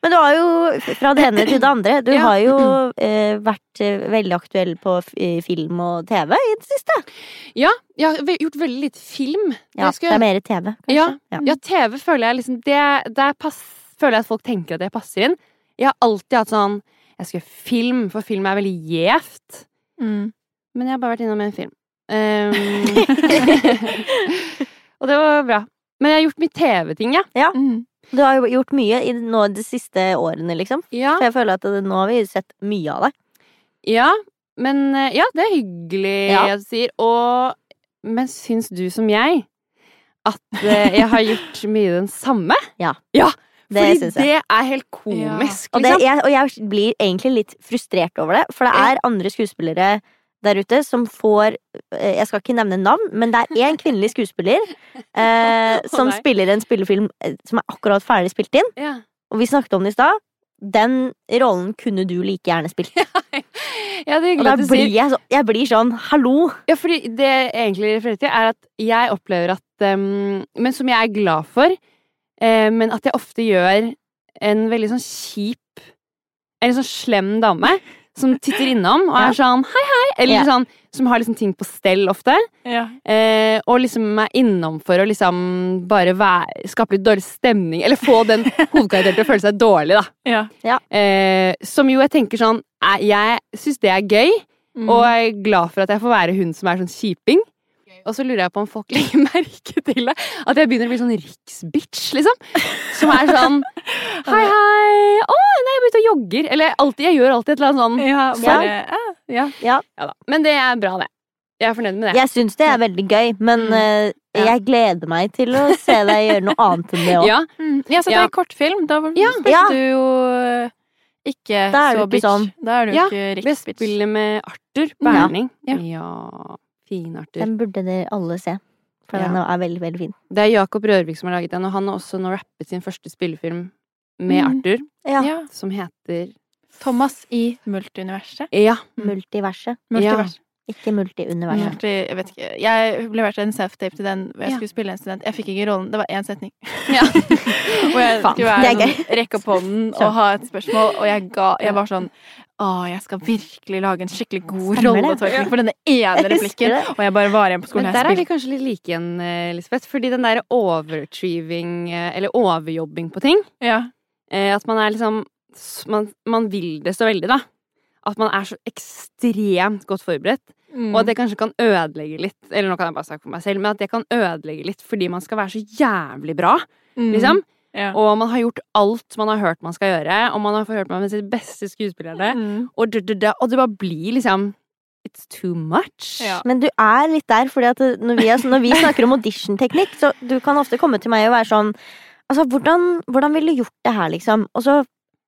S1: Men du har jo, fra det ene til det andre, du
S4: Ja.
S1: har jo eh, vært eh, veldig aktuell på f eh, film og TV i det siste.
S4: Jeg har ve- gjort veldig lite film.
S1: Ja,
S4: Jeg
S1: det er
S4: skulle-
S1: mer TV, kanskje.
S4: Ja.
S1: Ja.
S4: Ja, TV føler jeg liksom det, Der pass, føler jeg at folk tenker at jeg passer inn. Jeg har alltid hatt sånn Jeg skal gjøre film, for film er veldig gjevt.
S2: Mm.
S4: Men jeg har bare vært innom en film. Ehm, og det var bra. Men jeg har gjort mye TV-ting, ja.
S2: Mm.
S1: Du har jo gjort mye i nå de siste årene, liksom.
S4: ja.
S1: For jeg føler at det, nå har vi sett mye av deg.
S4: Ja, men eh, Ja, det er hyggelig
S1: Ja.
S4: jeg sier. Og Men syns du som jeg at eh, jeg har gjort mye den samme?
S1: Ja. Det
S4: Fordi
S1: syns jeg.
S4: det er helt komisk,
S1: Og, det,
S4: liksom.
S1: jeg, og jeg blir egentlig litt frustrert over det, for det er andre skuespillere der ute som får eh, Jeg skal ikke nevne navn, men det er én kvinnelig skuespiller eh,
S4: Å,
S1: som
S4: nei.
S1: spiller en spillefilm eh, som er akkurat ferdig spilt inn.
S4: Ja.
S1: Og vi snakket om det i stad. Den rollen kunne du like gjerne spilt.
S4: Ja, det er
S1: Og
S4: hyggelig
S1: da
S4: at du
S1: blir
S4: sier
S1: jeg, så, jeg blir sånn hallo!
S4: Ja, fordi det jeg egentlig refererer til, er at jeg opplever at ehm, Men som jeg er glad for, eh, men at jeg ofte gjør en veldig sånn kjip En litt sånn slem dame som titter innom og
S1: Ja.
S4: er sånn hei, hei, eller
S1: Ja.
S4: sånn Som har liksom ting på stell ofte,
S2: Ja.
S4: eh, og liksom er innom for å liksom bare være, skape litt dårlig stemning, eller få den hovedkarakteren til å føle seg dårlig, da.
S2: Ja.
S4: Eh, som jo jeg tenker sånn eh, Jeg syns det er gøy.
S2: Mm.
S4: Og jeg er glad for at jeg får være hun som er sånn kjiping. Og så lurer jeg på om folk legger merke til det. At jeg begynner å bli sånn riksbitch, liksom. Som er sånn Hei, hei. Å, nei, jeg er ute og jogger. Eller alltid, jeg gjør alltid et eller annet sånn.
S2: ja, bare, ja. ja.
S4: Ja da. Men det er bra, det. Jeg er fornøyd med det.
S1: Jeg syns det er veldig gøy, men
S2: Mm.
S1: eh,
S4: Ja.
S1: jeg gleder meg til å se deg gjøre noe annet enn det òg.
S4: Ja,
S2: Mm. Jeg satt
S4: Ja.
S2: i kortfilm. Da var-
S4: Ja.
S2: spilte
S1: Ja.
S2: du jo eh, ikke
S1: Da er du
S2: så
S1: ikke
S2: bitch.
S1: sånn.
S2: Da er du
S4: Ja,
S2: ikke
S4: Vi
S2: riktig bitch.
S4: spiller med Arthur
S1: Ja.
S4: Berning.
S2: Ja.
S4: Ja. Fin Arthur.
S1: Den burde dere alle se. For
S4: Ja.
S1: den er veldig, veldig fin.
S4: Det er Jakob Rørvik som har laget den, og han har også nå rappet sin første spillefilm med
S2: Mm.
S4: Arthur,
S1: Ja.
S2: Ja.
S4: som heter
S2: Thomas i Multiuniverset.
S4: Ja.
S1: Multiverset,
S2: Multiverset.
S1: ikke multiuniverset.
S2: Multi, jeg vet ikke. Jeg ble vært en self-tape til den hvor jeg
S4: Ja.
S2: skulle spille en student. Jeg fikk ikke rollen. Det var én setning.
S4: ja.
S2: Hvor jeg
S4: Faen.
S2: skulle
S1: Det
S2: være
S1: er
S2: sånn, rekke opp hånden
S1: Ja.
S2: og ha et spørsmål, og jeg ga Jeg var sånn Å, jeg skal virkelig lage en skikkelig god
S1: Stemmer det.
S2: rolletolkning for denne ene
S1: Jeg husker
S2: replikken.
S1: det.
S2: Og jeg bare var igjen på skolen.
S4: Men
S2: Jeg
S4: der er vi
S2: spilte.
S4: kanskje litt like igjen, eh, Lisbeth. Fordi den der overtrieving, eh, eller overjobbing på ting
S2: Ja.
S4: eh, At man er liksom s- man, man vil det så veldig, da. At man er så ekstremt godt forberedt.
S2: Mm.
S4: Og at det kanskje kan ødelegge litt, eller nå kan jeg bare snakke for meg selv, men at det kan ødelegge litt fordi man skal være så jævlig bra,
S2: Mm.
S4: liksom.
S2: Ja.
S4: Og man har gjort alt man har hørt man skal gjøre, og man har forhørt meg med sitt beste skuespillerne,
S2: Mm.
S4: og, d -d -d og det bare blir liksom It's too much.
S2: Ja.
S1: Men du er litt der, fordi at når vi, er sånn- når vi snakker om auditionteknikk, så du kan ofte komme til meg og være sånn Altså, hvordan, hvordan ville du gjort det her, liksom? Og så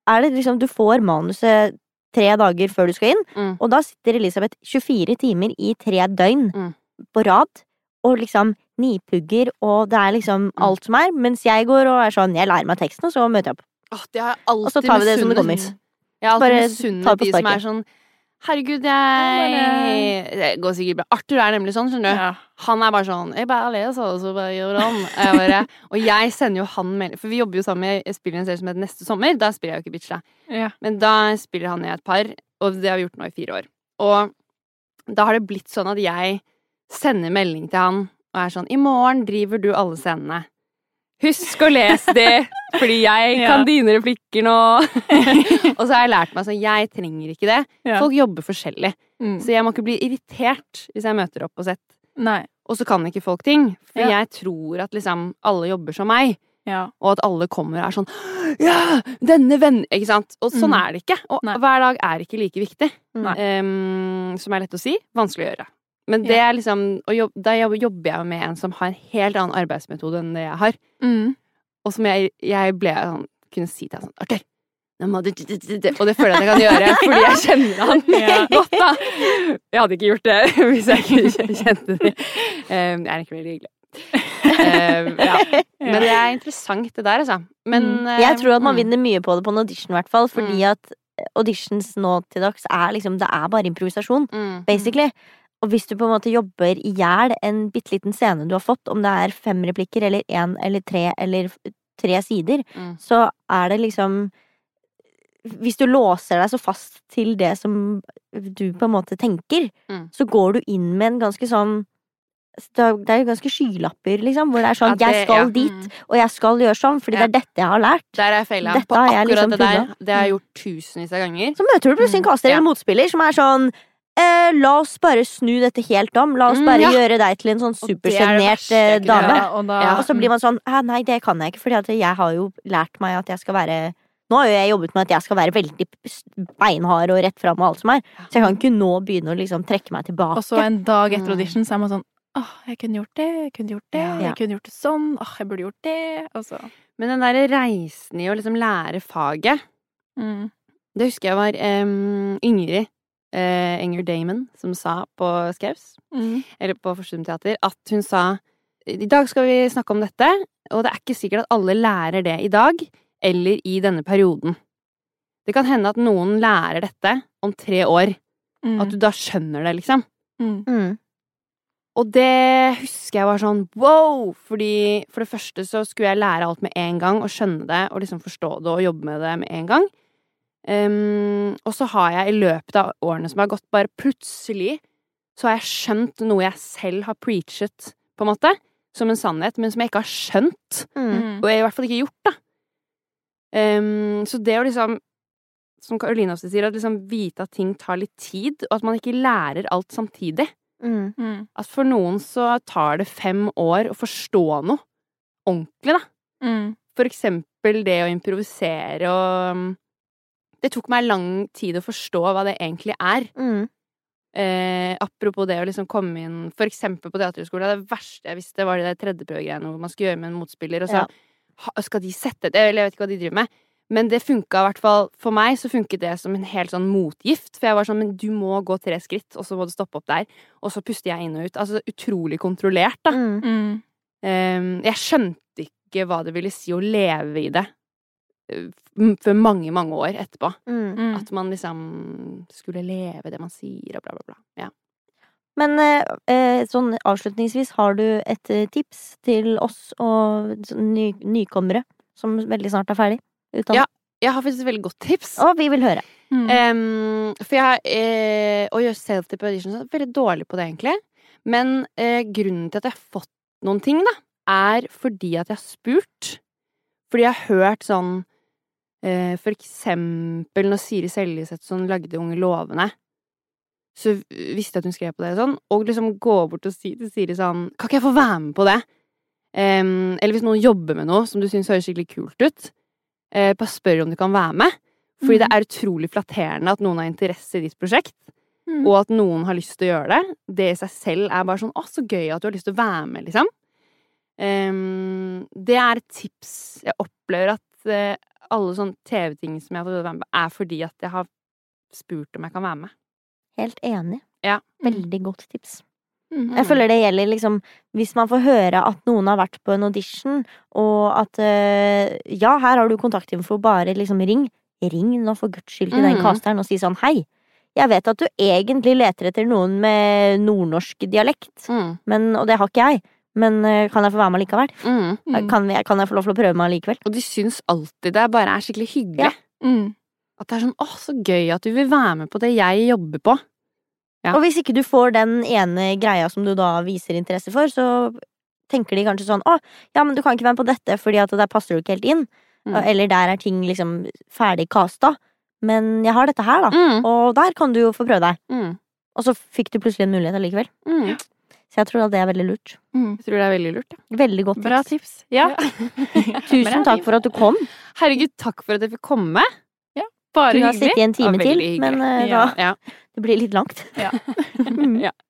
S1: er det liksom Du får manuset tre dager før du skal inn,
S4: Mm.
S1: og da sitter Elisabeth 24 timer i tre døgn
S4: Mm.
S1: på rad og liksom nipugger, og det er
S4: Mm.
S1: liksom alt som er, mens jeg går og er sånn Jeg lærer meg teksten, og så møter jeg opp.
S4: Åh, det har jeg alltid
S1: Og så tar vi det som det
S4: misunnet.
S1: kommer.
S4: Jeg har alltid
S1: Bare ta det
S4: misunnet
S1: på
S4: de som er
S1: sparket.
S4: sånn Herregud, jeg Det går sikkert bra. Arthur er nemlig sånn, skjønner du.
S2: Ja.
S4: Han er bare sånn Jeg bare leser, og så bare gjør han. Og Jeg bare, og jeg sender jo han melding For vi jobber jo sammen. Jeg spiller i en serie som heter Neste sommer. Da spiller jeg jo ikke bitch, da.
S2: Ja.
S4: Men da spiller han i et par, og det har vi gjort nå i fire år. Og da har det blitt sånn at jeg sender melding til han og er sånn I morgen driver du alle scenene. Husk å lese det, fordi jeg
S2: Ja.
S4: kan dine replikker nå. og så har jeg lært meg sånn Jeg trenger ikke det.
S2: Ja.
S4: Folk jobber forskjellig.
S2: Mm.
S4: Så jeg må ikke bli irritert hvis jeg møter opp på sett.
S2: Nei.
S4: Og så kan ikke folk ting. For
S2: Ja.
S4: jeg tror at liksom alle jobber som meg.
S2: Ja.
S4: Og at alle kommer og er sånn Ja! Denne vennen Ikke sant? Og sånn
S2: Mm.
S4: er det ikke. Og
S2: Nei.
S4: hver dag er ikke like viktig.
S1: Nei.
S4: Ehm, som er lett å si. Vanskelig å gjøre. Men det
S2: Ja.
S4: er liksom og jobb, Da jobb- jobber jeg jo med en som har en helt annen arbeidsmetode enn det jeg har.
S2: Mm.
S4: Og som jeg, jeg ble sånn Kunne si til han sånn Arthur! Nå må du Og det føler jeg at jeg kan gjøre, fordi jeg kjenner han
S2: Ja.
S4: godt, da. Jeg hadde ikke gjort det hvis jeg ikke kjente det. Ehm, jeg er ikke veldig hyggelig. Ehm, ja. Men det er interessant, det der, altså. Men
S2: Mm.
S4: eh,
S1: Jeg tror at man
S4: mm.
S1: vinner mye på det på en audition, i hvert fall, fordi at eh, auditions nå til dags er liksom Det er bare improvisasjon.
S4: Mm.
S1: basically. Og hvis du på en måte jobber i hjel en bitte liten scene du har fått, om det er fem replikker eller én eller tre eller f- tre sider,
S4: Mm.
S1: så er det liksom Hvis du låser deg så fast til det som du på en måte tenker,
S4: Mm.
S1: så går du inn med en ganske sånn det er det er jo ganske skylapper, liksom, hvor det er sånn
S4: At det-
S1: 'jeg skal
S4: ja. Mm.
S1: dit, og jeg skal gjøre sånn', fordi
S4: Ja.
S1: det er dette jeg har lært.
S4: Der er jeg feila.
S1: Dette
S4: På
S1: har
S4: akkurat
S1: jeg liksom
S4: det der.
S1: pugga.
S4: Det har jeg gjort tusenvis av ganger.
S1: Så møter du
S4: Mm.
S1: plutselig en kaster eller motspiller som er sånn eh, La oss bare snu dette helt om. La oss
S4: Mm,
S1: bare
S4: ja.
S1: gjøre deg til en sånn
S4: Og det er det verste
S1: supersjenert eh,
S4: jeg kunne
S1: dame.
S4: gjøre.
S2: Ja, og da,
S4: Ja, Mm.
S1: Og så blir man sånn Hæ, nei, det kan jeg ikke, Fordi at jeg har jo lært meg at jeg skal være Nå har jo jeg jobbet med at jeg skal være veldig s- beinhard og rett fram og alt som er, så jeg kan ikke nå begynne å liksom trekke meg tilbake.
S2: Og så en dag etter
S4: Mm.
S2: audition så er man sånn Åh, jeg kunne gjort det, jeg kunne gjort det,
S4: Ja.
S2: jeg kunne gjort det sånn, åh, jeg burde gjort det, og så
S4: Men den derre reisen i å liksom lære faget
S2: mm.
S4: Det husker jeg var em, Ingrid eh, Enger Damon som sa på Skaus,
S2: Mm.
S4: eller på Forstum Teater, at hun sa I dag skal vi snakke om dette, og det er ikke sikkert at alle lærer det i dag eller i denne perioden. Det kan hende at noen lærer dette om tre år,
S2: Mm.
S4: at du da skjønner det, liksom.
S2: mm.
S1: Mm.
S4: Og det husker jeg var sånn wow! Fordi for det første så skulle jeg lære alt med en gang, og skjønne det, og liksom forstå det, og jobbe med det med en gang. Ehm, og så har jeg i løpet av årene som har gått, bare plutselig så har jeg skjønt noe jeg selv har preachet, på en måte, som en sannhet, men som jeg ikke har skjønt.
S1: Mm.
S2: Mm.
S4: Og jeg har i hvert fall ikke gjort, da. Ehm, så det å liksom Som Karoline ofte sier, at liksom vite at ting tar litt tid, og at man ikke lærer alt samtidig.
S1: Mm.
S2: Mm.
S4: At for noen så tar det fem år å forstå noe ordentlig, da.
S2: Mm.
S4: For eksempel det å improvisere og um, Det tok meg lang tid å forstå hva det egentlig er.
S1: Mm.
S4: Eh, apropos det å liksom komme inn For eksempel på teaterhøgskolen. Det verste jeg visste, var de der tredjeprøvegreiene hvor man skulle gjøre med en motspiller, og
S1: Ja.
S4: så ha, Skal de sette det? Eller jeg vet ikke hva de driver med. Men det funka i hvert fall for meg så funket det som en helt sånn motgift. For jeg var sånn Men du må gå tre skritt, og så må du stoppe opp der. Og så puster jeg inn og ut. Altså utrolig kontrollert, da.
S1: Mm.
S2: Mm.
S4: Ehm, jeg skjønte ikke hva det ville si å leve i det eh, m- før mange, mange år etterpå.
S1: Mm.
S2: Mm.
S4: At man liksom skulle leve det man sier, og bla, bla, bla. Ja.
S1: Men eh, eh, sånn avslutningsvis, har du et eh, tips til oss og sånn ny, nykommere som veldig snart er ferdig? Utdannet?
S4: Jeg har faktisk et veldig godt tips.
S1: Og vi vil høre.
S2: Mm.
S4: Ehm, for jeg eh, Å gjøre self-tip audition så er jeg veldig dårlig på det, egentlig. Men eh, grunnen til at jeg har fått noen ting, da, er fordi at jeg har spurt. Fordi jeg har hørt sånn eh, For eksempel når Siri Seljeseth sånn lagde Unge lovende, så visste jeg at hun skrev på det og sånn, og liksom gå bort og si til Siri sånn Kan ikke jeg få være med på det? Em, eller hvis noen jobber med noe som du syns høres skikkelig kult ut, eh, bare spør om du kan være med. Fordi det er utrolig flatterende at noen har interesse i ditt prosjekt,
S2: Mm.
S4: og at noen har lyst til å gjøre det. Det i seg selv er bare sånn Å, så gøy at du har lyst til å være med, liksom. Em, det er et tips jeg opplever at eh, alle sånne TV-ting som jeg har fått være med på, er fordi at jeg har spurt om jeg kan være med.
S1: Helt enig.
S4: Ja.
S1: Veldig godt tips.
S2: Mm.
S1: Jeg føler det gjelder liksom Hvis man får høre at noen har vært på en audition, og at eh, Ja, her har du kontaktinfo, bare liksom ring. Ring nå, for guds skyld, til den
S4: Mhm.
S1: casteren, og si sånn Hei, jeg vet at du egentlig leter etter noen med nordnorsk dialekt,
S4: Mm.
S1: men, og det har ikke jeg. Men eh, kan jeg få være med likevel?
S4: Mm.
S2: Mm.
S1: Eh, Kan, jeg, kan jeg få lov til å prøve meg likevel?
S4: Og de syns alltid det bare er skikkelig hyggelig.
S1: Ja.
S2: Mm.
S4: At det er sånn 'Å, så gøy at du vil være med på det jeg jobber på'. Ja.
S1: Og hvis ikke du får den ene greia som du da viser interesse for, så tenker de kanskje sånn Å, ja, men du kan ikke være med på dette fordi at der passer du ikke helt inn. Eh,
S4: Mm.
S1: Eller der er ting liksom ferdig casta. Men jeg har dette her, da.
S4: Mm.
S1: Og der kan du jo få prøve deg.
S4: Mm.
S1: Og så fikk du plutselig en mulighet allikevel.
S4: Mm.
S1: Så jeg tror at det er veldig lurt.
S2: Mm.
S4: Jeg tror det er veldig lurt. Ja.
S1: Veldig godt
S2: Bra
S1: tips.
S2: tips. Ja.
S1: Tusen takk for at du kom.
S4: Herregud, takk for at jeg fikk komme.
S2: Bare
S1: Kunne ha
S2: hyggelig.
S1: sittet i en time
S4: Ja,
S1: til, eh,
S4: veldig hyggelig.
S1: men eh,
S2: Ja.
S1: da, det blir litt langt.
S4: Ja. ja.